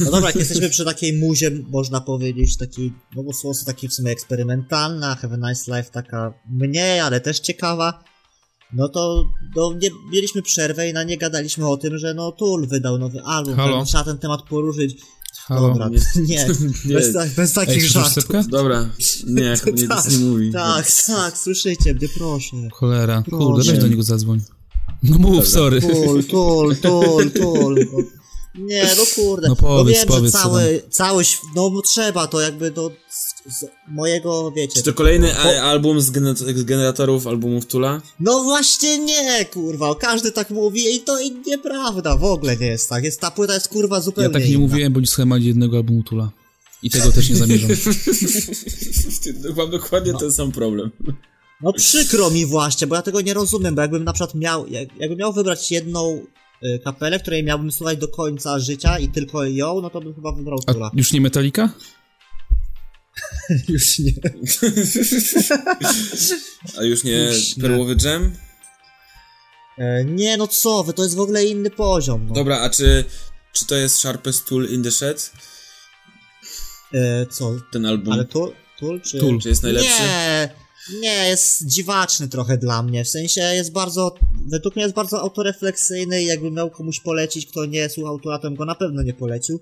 Speaker 2: no dobra, jak jesteśmy przy takiej muzie, można powiedzieć, takiej, no bo słowo takiej w sumie eksperymentalna, Have a Nice Life taka mniej, ale też ciekawa. No to no, nie, mieliśmy przerwę i na nie gadaliśmy o tym, że no Tool wydał nowy album,
Speaker 1: Halo?
Speaker 2: tak, trzeba ten temat poruszyć.
Speaker 1: Halo.
Speaker 2: Dobra, [laughs]
Speaker 3: [laughs]
Speaker 2: nie,
Speaker 3: Nie.
Speaker 2: bez, ta- bez
Speaker 1: Ej,
Speaker 2: takich
Speaker 1: słyszysz
Speaker 2: żartów.
Speaker 1: sepkę?
Speaker 3: Dobra,
Speaker 2: [laughs]
Speaker 3: nie, nie, nic nie mówi.
Speaker 2: Tak, tak, słyszycie mnie, proszę.
Speaker 1: Cholera,
Speaker 2: Proszę.
Speaker 1: kurde, weź do niego zadzwoń. No mów, sorry.
Speaker 2: Tul, tul, tul, tul. No, Nie, no kurde.
Speaker 1: No powiedz,
Speaker 2: no wiem,
Speaker 1: powiedz,
Speaker 2: że cały, cały, św- no bo trzeba to jakby do z, z mojego, wiecie.
Speaker 3: Czy to kolejny a, album z, gener- z generatorów albumów Tula?
Speaker 2: No właśnie nie, kurwa, każdy tak mówi i to i nieprawda, w ogóle nie jest tak. Jest, ta płyta jest
Speaker 1: [laughs]
Speaker 2: kurwa
Speaker 1: Ja
Speaker 2: zupełnie
Speaker 1: tak nie
Speaker 2: inna.
Speaker 1: mówiłem, bo nie słuchałem ani jednego albumu Tula. I tego też nie
Speaker 2: [laughs]
Speaker 1: zamierzam.
Speaker 3: [laughs] Mam dokładnie ten sam problem.
Speaker 2: No przykro mi właśnie, bo ja tego nie rozumiem, bo jakbym na przykład miał, jak, jakbym miał wybrać jedną y, kapelę, której miałbym słuchać do końca życia i tylko ją, no to bym chyba wybrał
Speaker 1: A
Speaker 2: Tula. [laughs]
Speaker 1: już nie Metallica?
Speaker 2: Już nie.
Speaker 3: A już nie
Speaker 2: Już nie.
Speaker 3: perłowy dżem?
Speaker 2: E, nie, no co wy, to jest w ogóle inny poziom. No.
Speaker 3: Dobra, a czy, czy to jest Sharpest Tool in the Shed?
Speaker 2: E, co?
Speaker 3: Ten album?
Speaker 2: Ale Tul? Tul czy...
Speaker 1: Tool.
Speaker 3: Czy jest Mm. najlepszy?
Speaker 2: Nie, nie, jest dziwaczny trochę dla mnie, w sensie jest bardzo, według mnie jest bardzo autorefleksyjny i jakbym miał komuś polecić, kto nie słuchał Tula, to bym go na pewno nie polecił.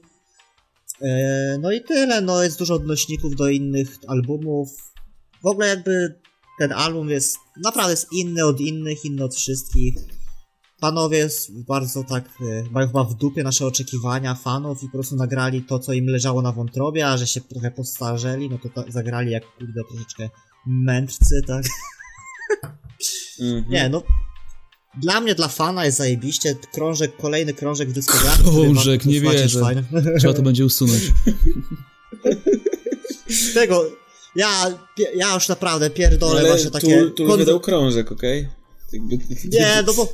Speaker 2: E, no i tyle, no jest dużo odnośników do innych albumów. W ogóle jakby ten album jest, naprawdę jest inny od innych, inny od wszystkich. panowie s- bardzo tak y, mają chyba w dupie nasze oczekiwania fanów i po prostu nagrali to, co im leżało na wątrobie, a że się trochę postarzeli, no to ta, zagrali jak kurde troszeczkę mędrcy, tak?
Speaker 3: Mhm.
Speaker 2: Nie, no. Dla mnie, dla fana jest zajebiście. Krążek, kolejny krążek w dyskografii. który ma-
Speaker 1: Krążek, nie
Speaker 2: macie
Speaker 1: wierzę.
Speaker 2: fajne. [laughs]
Speaker 1: Trzeba to będzie usunąć.
Speaker 2: Tego, ja, pie- ja już naprawdę pierdolę
Speaker 3: No Ale
Speaker 2: właśnie
Speaker 3: tu,
Speaker 2: takie...
Speaker 3: tu
Speaker 2: kon-
Speaker 3: wydał krążek, okej? Jakby-
Speaker 2: Nie, no bo...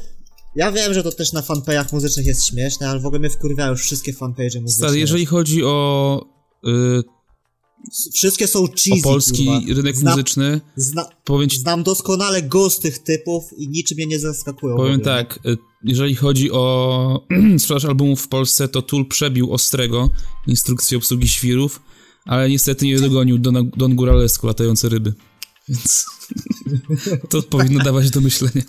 Speaker 2: Ja wiem, że to też na fanpage'ach muzycznych jest śmieszne, ale w ogóle mnie wkurwiają już wszystkie fanpage'e muzyczne.
Speaker 1: Stary, jeżeli chodzi o, y,
Speaker 2: Wszystkie są
Speaker 1: o
Speaker 2: cheesy,
Speaker 1: polski
Speaker 2: kurwa.
Speaker 1: rynek
Speaker 2: Zna-
Speaker 1: muzyczny,
Speaker 2: Zna,
Speaker 1: powiem ci
Speaker 2: znam doskonale ghost tych typów i niczym mnie nie zaskakują. w
Speaker 1: Powiem
Speaker 2: ogóle.
Speaker 1: tak, y, jeżeli chodzi o [clears throat] sprzedaż albumów w Polsce, to Tool przebił Ostrego instrukcję obsługi świrów, ale niestety nie dogonił Don, Don Guralesku latające ryby. Więc [laughs] to powinno dawać do myślenia.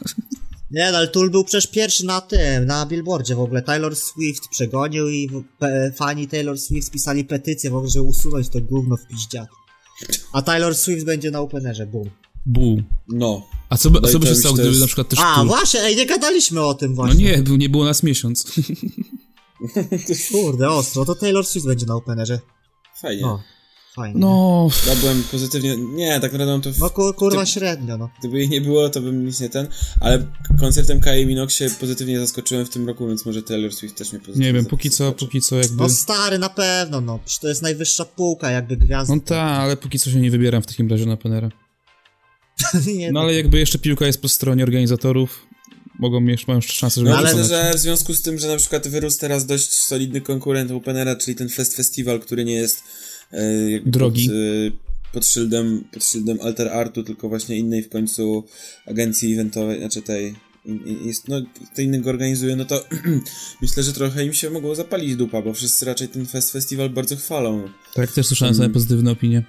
Speaker 2: Nie, no, ale Tool był przecież pierwszy na tym, na billboardzie w ogóle. Taylor Swift przegonił i w- pe, fani Taylor Swift pisali petycję w ogóle, żeby usunąć to gówno w piździat. A Taylor Swift będzie na openerze, boom.
Speaker 1: Bu.
Speaker 3: No.
Speaker 1: A co by, a
Speaker 3: No i
Speaker 1: co by
Speaker 3: to
Speaker 1: się
Speaker 3: już
Speaker 1: stało,
Speaker 3: to
Speaker 1: gdyby
Speaker 3: jest-
Speaker 1: na przykład też
Speaker 2: A,
Speaker 1: Tool...
Speaker 2: właśnie, ej, nie gadaliśmy o tym
Speaker 1: No
Speaker 2: właśnie.
Speaker 1: nie, był- nie było nas miesiąc. [laughs]
Speaker 2: Kurde, ostro, to Taylor Swift będzie na openerze.
Speaker 3: Fajnie.
Speaker 2: No, fajnie. No,
Speaker 1: No,
Speaker 3: Ja byłem pozytywnie... Nie, tak naprawdę mam to... W...
Speaker 2: ku, kurwa
Speaker 3: Ty-
Speaker 2: średnio, no.
Speaker 3: Gdyby jej nie było, to bym nic nie ten, ale koncertem Kylie Minogue się pozytywnie zaskoczyłem w tym roku, więc może Taylor Swift też mnie
Speaker 1: [laughs]
Speaker 3: pozytywnie
Speaker 1: nie wiem, póki co,
Speaker 3: zaskoczy.
Speaker 1: póki co jakby...
Speaker 2: No stary, na pewno, no. Przecież to jest najwyższa półka, jakby gwiazda.
Speaker 1: No tak, ale póki co się nie wybieram w takim razie na Penera.
Speaker 2: [laughs] nie,
Speaker 1: No ale jakby jeszcze piłka jest po stronie organizatorów, mogą, mieć- mają jeszcze szansę, żeby...
Speaker 3: No,
Speaker 1: No,
Speaker 3: ale
Speaker 2: ale-
Speaker 3: myślę, że w związku z tym, że na przykład wyrósł teraz dość solidny konkurent Openera, czyli ten Fest Festival, który nie jest e, jakby
Speaker 1: Drogi.
Speaker 3: Pod, e, pod, szyldem, pod szyldem Alter Artu, tylko właśnie innej w końcu agencji eventowej, znaczy tej, in- in- jest, no, tej innej go organizuje, no to [clears throat] myślę, że trochę im się mogło zapalić dupa, bo wszyscy raczej ten Fest Festival bardzo chwalą.
Speaker 1: Tak, też słyszałem
Speaker 2: Mm.
Speaker 1: same pozytywne opinie.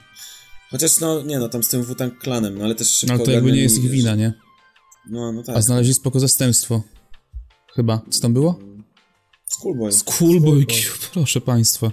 Speaker 3: Chociaż no, nie no, tam z tym Wutan Klanem, no ale też szybko
Speaker 1: No ale to jakby
Speaker 3: ogarnęli,
Speaker 1: nie jest ich
Speaker 3: wiesz.
Speaker 1: wina, nie?
Speaker 3: No, no tak.
Speaker 1: A znaleźli spoko zastępstwo. Chyba. Co tam było?
Speaker 2: No,
Speaker 3: Schoolboy.
Speaker 1: Schoolboy Q, proszę państwa.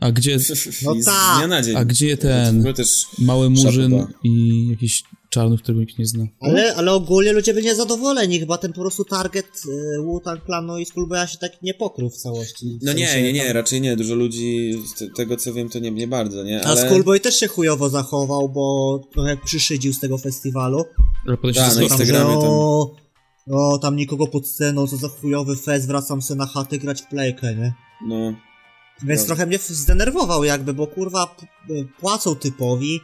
Speaker 1: A gdzie,
Speaker 2: No
Speaker 3: I [laughs] z
Speaker 2: tak.
Speaker 3: dnia na dzień.
Speaker 1: a gdzie
Speaker 3: To w
Speaker 1: ten
Speaker 3: ogóle też...
Speaker 1: mały murzyn
Speaker 3: Szapoba.
Speaker 1: i jakiś czarny, którego nikt nie zna?
Speaker 2: Ale, ale ogólnie ludzie byli niezadowoleni, chyba ten po prostu target y, Wu-Tang Clanu i Skullboya się tak nie pokrył w całości. W
Speaker 3: No nie,
Speaker 2: sensie
Speaker 3: nie, nie,
Speaker 2: tam-
Speaker 3: raczej nie. Dużo ludzi, z te- tego co wiem, to nie, nie bardzo, nie?
Speaker 2: no. A
Speaker 3: Ale...
Speaker 2: Skullboy też się chujowo zachował, bo trochę przyszydził z tego festiwalu.
Speaker 1: Ale potem się
Speaker 3: Da, no
Speaker 1: zaskoczył.
Speaker 3: i
Speaker 2: Tam, że
Speaker 3: Instagramie tam.
Speaker 2: o, o, tam nikogo pod sceną, co za chujowy fest, wracam se na chatę grać w playkę, nie?
Speaker 3: No,
Speaker 2: Więc
Speaker 3: No.
Speaker 2: trochę mnie f- zdenerwował jakby, bo kurwa p- y, płacą typowi.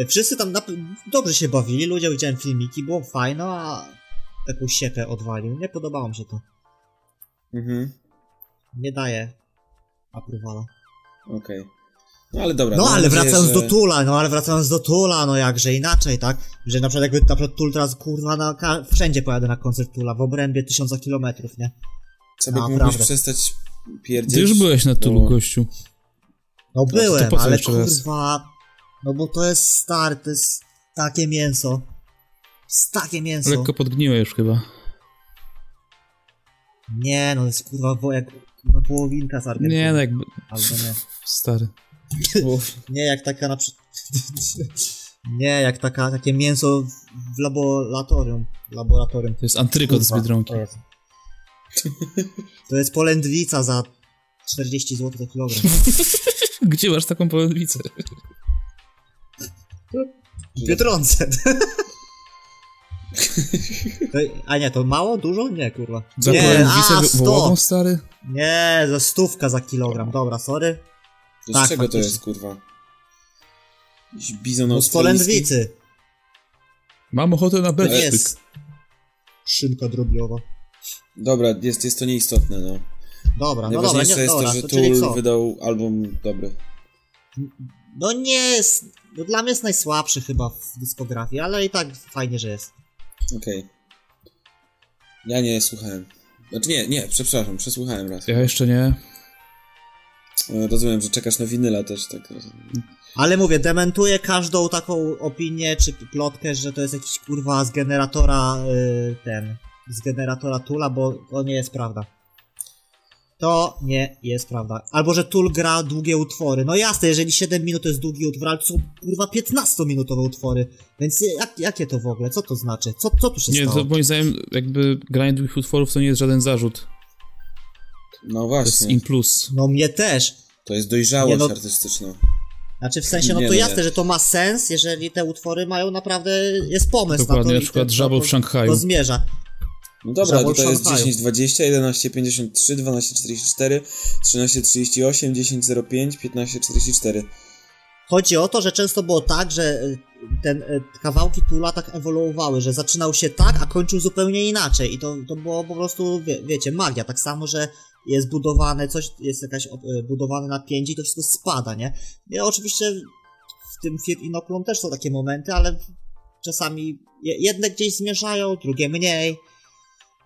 Speaker 2: Y, Wszyscy tam nap- dobrze się bawili, ludzie widziałem filmiki, było fajno, a taką siepę odwalił. Nie podobało mi się to.
Speaker 3: mhm,
Speaker 2: Nie daje aprywala.
Speaker 3: okej. No ale dobra.
Speaker 2: No
Speaker 3: mam
Speaker 2: ale
Speaker 3: nadzieję,
Speaker 2: wracając
Speaker 3: że-
Speaker 2: do Tula, no ale wracając do Tula, no jakże inaczej, tak? Że na przykład jakby na przykład Tul teraz kurwa na, ka- wszędzie pojadę na koncert Tula, w obrębie tysiąca kilometrów, nie?
Speaker 3: Trzeba by mógłbyś
Speaker 2: Naprawdę.
Speaker 3: przestać pierdzieć.
Speaker 1: Ty już byłeś na Tulu,
Speaker 3: No.
Speaker 1: gościu.
Speaker 2: No
Speaker 1: to
Speaker 2: byłem,
Speaker 1: po co
Speaker 2: ale
Speaker 1: jeszcze raz?
Speaker 2: kurwa, no bo to jest stary, to jest takie mięso. Jest Takie mięso.
Speaker 1: Lekko podgniłeś chyba.
Speaker 2: Nie, no to jest kurwa, bo jak no, połowinka z Argentyny.
Speaker 1: Nie, no jak...
Speaker 2: Albo nie.
Speaker 1: Stary.
Speaker 2: Nie, jak taka na przykład... [laughs] nie, jak taka, takie mięso w- w laboratorium. Laboratorium.
Speaker 1: To jest antrykot z
Speaker 2: Kurwa,
Speaker 1: Biedronki. [laughs]
Speaker 2: to jest. [laughs] To jest polędwica za 40 zł za kilogram.
Speaker 1: Gdzie masz taką polędwicę?
Speaker 2: W Biedronce. To- A nie, to mało? Dużo? Nie, kurwa.
Speaker 1: Za
Speaker 2: nie, a,
Speaker 1: polędwicę wo- wołową,
Speaker 2: 100.
Speaker 1: stary?
Speaker 2: Nie, za stówka za kilogram. Dobra, sorry.
Speaker 1: No,
Speaker 3: To z
Speaker 2: Tak,
Speaker 3: czego to
Speaker 2: faktycznie.
Speaker 3: jest, kurwa? Jakiś bizon
Speaker 2: No z
Speaker 3: australijski?
Speaker 2: polędwicy.
Speaker 1: Mam ochotę na
Speaker 2: To
Speaker 1: beczkę.
Speaker 2: nie jest szynka drobiowa.
Speaker 3: Dobra, jest, jest to nieistotne, no.
Speaker 2: Dobra, no dobra,
Speaker 3: Najważniejsze
Speaker 2: nie,
Speaker 3: jest
Speaker 2: dobra,
Speaker 3: to, że
Speaker 2: to czyli co?
Speaker 3: Tool wydał album dobry.
Speaker 2: No nie jest, no dla mnie jest najsłabszy chyba w dyskografii, ale i tak fajnie, że jest.
Speaker 3: Okej. Ja nie słuchałem. Znaczy nie, nie, przepraszam, przesłuchałem raz.
Speaker 1: Ja jeszcze nie.
Speaker 3: E, Rozumiem, że czekasz na winyla też, tak rozumiem.
Speaker 2: Ale mówię, dementuję każdą taką opinię czy plotkę, że to jest jakiś kurwa z generatora y, ten, z generatora Tula, bo to nie jest prawda. To nie jest prawda. Albo, że Tul gra długie utwory. No jasne, jeżeli 7 minut to jest długi utwór, ale to są kurwa 15-minutowe utwory. Więc jak, jakie to w ogóle? Co to znaczy? Co, co tu się
Speaker 1: Nie,
Speaker 2: stało?
Speaker 1: to moim zdaniem jakby granie długich utworów to nie jest żaden zarzut.
Speaker 3: No
Speaker 1: To jest
Speaker 3: właśnie,
Speaker 1: in plus.
Speaker 2: No mnie też.
Speaker 3: to jest dojrzałość
Speaker 2: Nie, no-
Speaker 3: artystyczna.
Speaker 2: Znaczy w sensie, no
Speaker 3: Nie,
Speaker 2: to
Speaker 3: nie.
Speaker 2: jasne, że to ma sens, jeżeli te utwory mają naprawdę, jest pomysł na to.
Speaker 1: Dokładnie,
Speaker 2: i
Speaker 1: na
Speaker 2: to-
Speaker 1: przykład
Speaker 2: to-
Speaker 1: Żabo
Speaker 2: to-
Speaker 1: w Szanghaju.
Speaker 2: To zmierza.
Speaker 3: No dobra,
Speaker 2: Żabol
Speaker 3: tutaj jest
Speaker 2: Szanghaju.
Speaker 3: 10, 20, 11, 53, 12, 44, 13, 38, 10, 05, 15, 44.
Speaker 2: Chodzi o to, że często było tak, że y, ten, y, kawałki Tula tak ewoluowały, że zaczynał się tak, a kończył zupełnie inaczej. I to, to było po prostu, wie, wiecie, magia. Tak samo, że jest budowane coś, jest jakaś op- y, budowane napięcie i to wszystko spada, nie? Ja oczywiście w tym Fiat Inoculum też są takie momenty, ale czasami je- jedne gdzieś zmierzają, drugie mniej.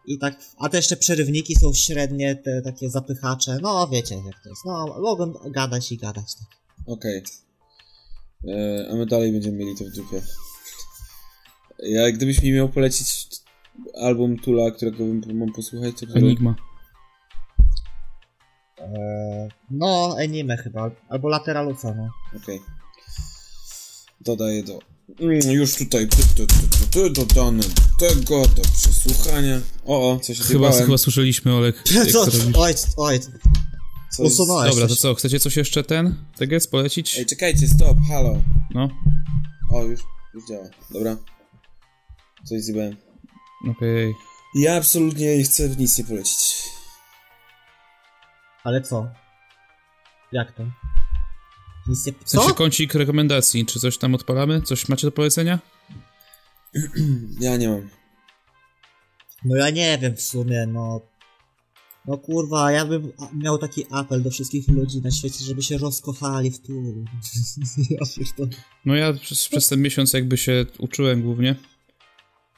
Speaker 2: I tak, a te jeszcze przerywniki są średnie, te takie zapychacze. No, wiecie, jak to jest. No, mogą gadać i gadać. Tak.
Speaker 3: Okej. E, A my dalej będziemy mieli to w dupie. Ja gdybyś mi miał polecić album Tula, którego bym mógł posłuchać, to który...
Speaker 1: Enigma.
Speaker 2: Eee, No, anime chyba, albo lateraluca, no.
Speaker 3: Okej. Dodaję do... Mm, Już tutaj ty, ty, ty, ty, ty, dodane tego do przesłuchania. O, o, coś
Speaker 1: Chyba,
Speaker 3: odjebałem.
Speaker 1: chyba słyszeliśmy, Olek. jak
Speaker 2: Co?
Speaker 1: to robisz.
Speaker 2: Oj, oj,
Speaker 3: Coś-
Speaker 2: usunąłeś
Speaker 1: Dobra, to
Speaker 2: coś.
Speaker 1: co, chcecie coś jeszcze ten? Tegec polecić?
Speaker 3: Ej, czekajcie, stop, halo.
Speaker 1: No,
Speaker 3: O, już, już działa. Dobra. Coś zjebałem.
Speaker 1: okej.
Speaker 3: Ja absolutnie nie chcę w nic nie polecić.
Speaker 2: Ale co? Jak to? Nic nie...
Speaker 1: W sensie
Speaker 2: Co?
Speaker 1: kącik rekomendacji, czy coś tam odpalamy? Coś macie do polecenia?
Speaker 3: Ja nie mam.
Speaker 2: No ja nie wiem w sumie, no... No kurwa, ja bym a- miał taki apel do wszystkich ludzi na świecie, żeby się rozkochali w Tulu. [laughs] ja pierdolę.
Speaker 1: No ja przez, przez ten miesiąc jakby się uczyłem głównie.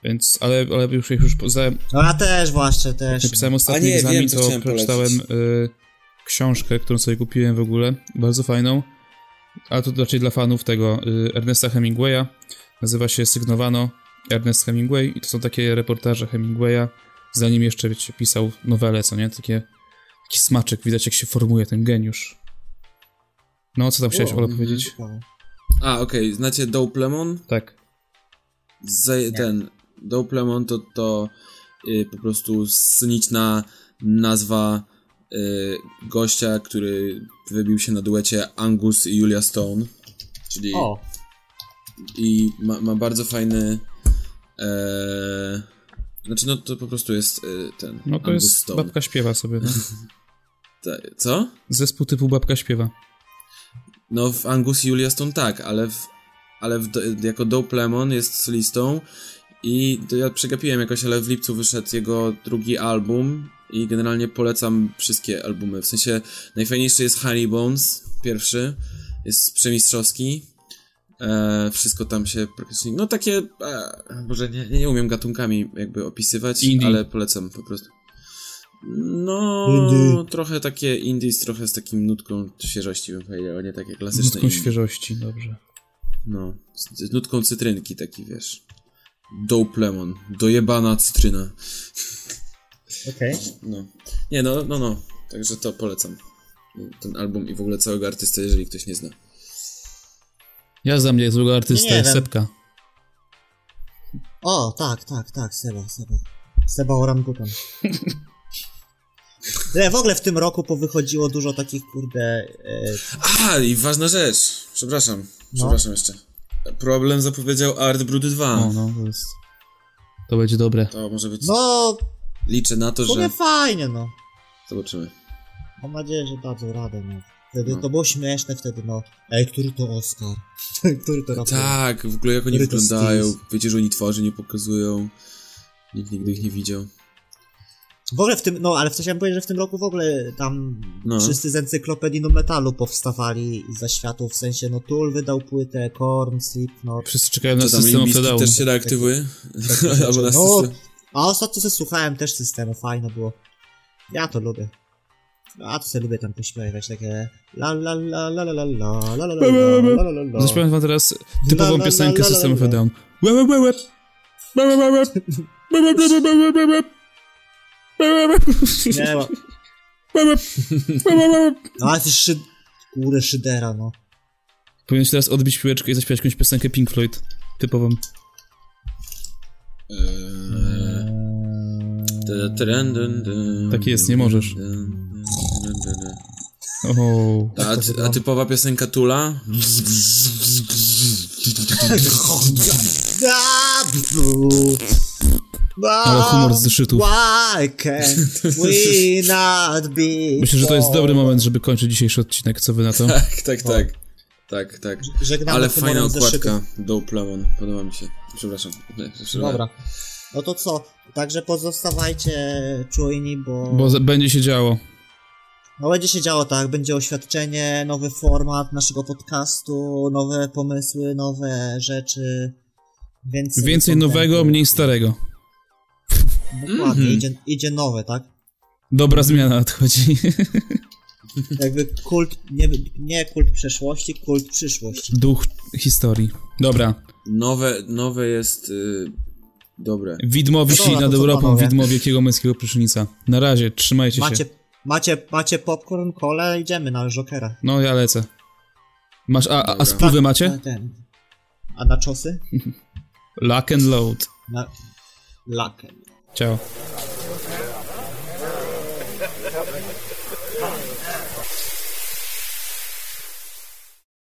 Speaker 1: Więc, ale, ale już, już poza,
Speaker 2: No ja też właśnie, też.
Speaker 1: napisałem ostatni
Speaker 3: A nie,
Speaker 1: egzamin,
Speaker 3: wiem, co
Speaker 1: to
Speaker 3: chciałem
Speaker 1: przeczytałem
Speaker 3: polecić.
Speaker 1: y, książkę, którą sobie kupiłem w ogóle, bardzo fajną, a to raczej dla fanów tego y, Ernesta Hemingwaya, nazywa się Sygnowano Ernest Hemingway i to są takie reportaże Hemingwaya, zanim jeszcze, wiecie, pisał nowele, co nie, takie, taki smaczek, widać jak się formuje ten geniusz. No, co tam chciałeś,
Speaker 2: O,
Speaker 1: Ola,
Speaker 3: mhm.
Speaker 1: powiedzieć?
Speaker 3: A, okej, znacie Dope Lemon?
Speaker 1: Tak.
Speaker 3: Zaje, ten Dope Lemon to, to y, po prostu sceniczna nazwa y, gościa, który wybił się na duecie Angus i Julia Stone. Czyli
Speaker 2: O,
Speaker 3: i ma, ma bardzo fajny. E, znaczy, no to po prostu jest y, ten.
Speaker 1: No to
Speaker 3: Angus
Speaker 1: jest
Speaker 3: Stone.
Speaker 1: babka śpiewa sobie,
Speaker 3: [laughs]
Speaker 1: no.
Speaker 3: Ta- Co?
Speaker 1: Zespół typu babka śpiewa.
Speaker 3: No w Angus i Julia Stone tak, ale, w, ale w, do- jako Dope Lemon jest solistą i to ja przegapiłem jakoś, ale w lipcu wyszedł jego drugi album i generalnie polecam wszystkie albumy. W sensie najfajniejszy jest Honey Bones, pierwszy, jest przemistrzowski. E, wszystko tam się praktycznie... No takie... E, Boże, nie, nie umiem gatunkami jakby opisywać,
Speaker 1: Indie.
Speaker 3: ale polecam po prostu. No,
Speaker 2: Indie.
Speaker 3: trochę takie indies, trochę z takim nutką świeżości bym powiedział, nie takie klasyczne
Speaker 1: Nutką
Speaker 3: indie.
Speaker 1: świeżości, dobrze.
Speaker 3: No, z, z nutką cytrynki taki, wiesz. Dope lemon, dojebana cytryna.
Speaker 2: okej.
Speaker 3: No. Nie, no, no, no. Także to polecam. Ten album i w ogóle całego artystę, jeżeli ktoś nie zna.
Speaker 1: Ja za mnie złego artystę,
Speaker 2: Nie wiem.
Speaker 1: Sepka.
Speaker 2: O, tak, tak, tak, Seba, Seba. Seba
Speaker 3: [laughs]
Speaker 2: orangutan. Ale w ogóle w tym roku powychodziło dużo takich, kurde, e,
Speaker 3: A, i ważna rzecz. Przepraszam.
Speaker 2: No.
Speaker 3: Przepraszam jeszcze. Problem zapowiedział Art Brood 2.
Speaker 1: O, no, to jest... To będzie dobre.
Speaker 3: To może być.
Speaker 2: no,
Speaker 3: Liczę na to,
Speaker 2: w sumie
Speaker 3: że.
Speaker 2: fajnie, no.
Speaker 3: Zobaczymy.
Speaker 2: Mam nadzieję, że dadzą radę, no. Wtedy
Speaker 3: No.
Speaker 2: to było śmieszne, wtedy, no, ej, który to Oscar? [laughs] który to raper?
Speaker 3: Tak, w ogóle jak oni
Speaker 2: Który to
Speaker 3: wyglądają.
Speaker 2: styl?
Speaker 3: Wiecie, że oni twarzy nie pokazują. Nikt nigdy ich nie widział.
Speaker 2: W ogóle w tym, no, ale chciałem powiedzieć, że w tym roku w ogóle tam
Speaker 3: No.
Speaker 2: wszyscy z encyklopedii no, metalu powstawali za światów, w sensie, no, Tool wydał płytę, Korn, Slipknot,
Speaker 1: Wszyscy czekają na
Speaker 3: Czy tam
Speaker 1: system
Speaker 3: Limbiskit
Speaker 1: Optedału.
Speaker 3: też się reaktywuje? [laughs] Albo na
Speaker 2: No,
Speaker 3: system.
Speaker 2: a ostatnio sobie słuchałem też systemu, fajne było. Ja to lubię. A to sobie lubię tam pośpiewać takie la la la la la la la la la la la la la la la
Speaker 1: Zaśpiewam No, wam teraz
Speaker 2: La, la,
Speaker 1: typową
Speaker 2: la,
Speaker 1: piosenkę
Speaker 2: la, la,
Speaker 1: System of
Speaker 2: la.
Speaker 1: a Down. Łe, łe, łe, łe. Łe, łe, łe, łe. Łe, łe, łe, łe, łe, łe, łe, łe. Łe, łe, łe.
Speaker 2: Nie ma. No ale ty szy... Kurde, szydera, no.
Speaker 1: Powinien się teraz odbić piłeczkę i zaśpiewać jakąś piosenkę Pink Floyd. Typową. Tak jest, nie możesz. O.
Speaker 3: A, ty- a typowa piosenka Tula?
Speaker 2: Mhm. Da, blu. Ba,
Speaker 1: Ale humor z zeszytów.
Speaker 2: Why
Speaker 1: [laughs]
Speaker 2: can't we not be
Speaker 1: Myślę, że to jest
Speaker 2: so-
Speaker 1: dobry moment, żeby kończyć dzisiejszy odcinek. Co wy na to?
Speaker 3: Tak, tak, tak. Tak, tak.
Speaker 2: Żegnamy
Speaker 3: Ale
Speaker 2: humorem
Speaker 3: fajna
Speaker 2: z zeszytów.
Speaker 3: okładka do Plemon. Podoba mi się. Przepraszam. Nie, przepraszam.
Speaker 2: Dobra. No to co? Także pozostawajcie czujni, bo...
Speaker 1: Bo za- będzie się działo.
Speaker 2: No będzie się działo tak, będzie oświadczenie, nowy format naszego podcastu, nowe pomysły, nowe rzeczy. Więcej,
Speaker 1: Więcej
Speaker 2: kontentu.
Speaker 1: nowego, mniej starego.
Speaker 2: Dokładnie,
Speaker 3: Mhm.
Speaker 2: idzie, idzie nowe, tak?
Speaker 1: Dobra zmiana nadchodzi. [laughs]
Speaker 2: Jakby kult, nie, nie kult przeszłości, kult przyszłości.
Speaker 1: Duch historii. Dobra.
Speaker 3: Nowe, nowe jest y, dobre.
Speaker 1: Widmo wisi
Speaker 2: No Dobra, to
Speaker 1: nad
Speaker 2: co,
Speaker 1: Europą,
Speaker 2: panowie?
Speaker 1: widmo wielkiego męskiego prysznica. Na razie, trzymajcie się.
Speaker 2: Macie, macie, macie popcorn, kole, idziemy na Jokera.
Speaker 1: No, ja lecę. Masz, a, a, a
Speaker 3: Dobra.
Speaker 1: spływy
Speaker 2: A,
Speaker 1: macie?
Speaker 2: ten. A na czosy?
Speaker 1: Luck and load.
Speaker 2: Na lakę.
Speaker 1: Ciao.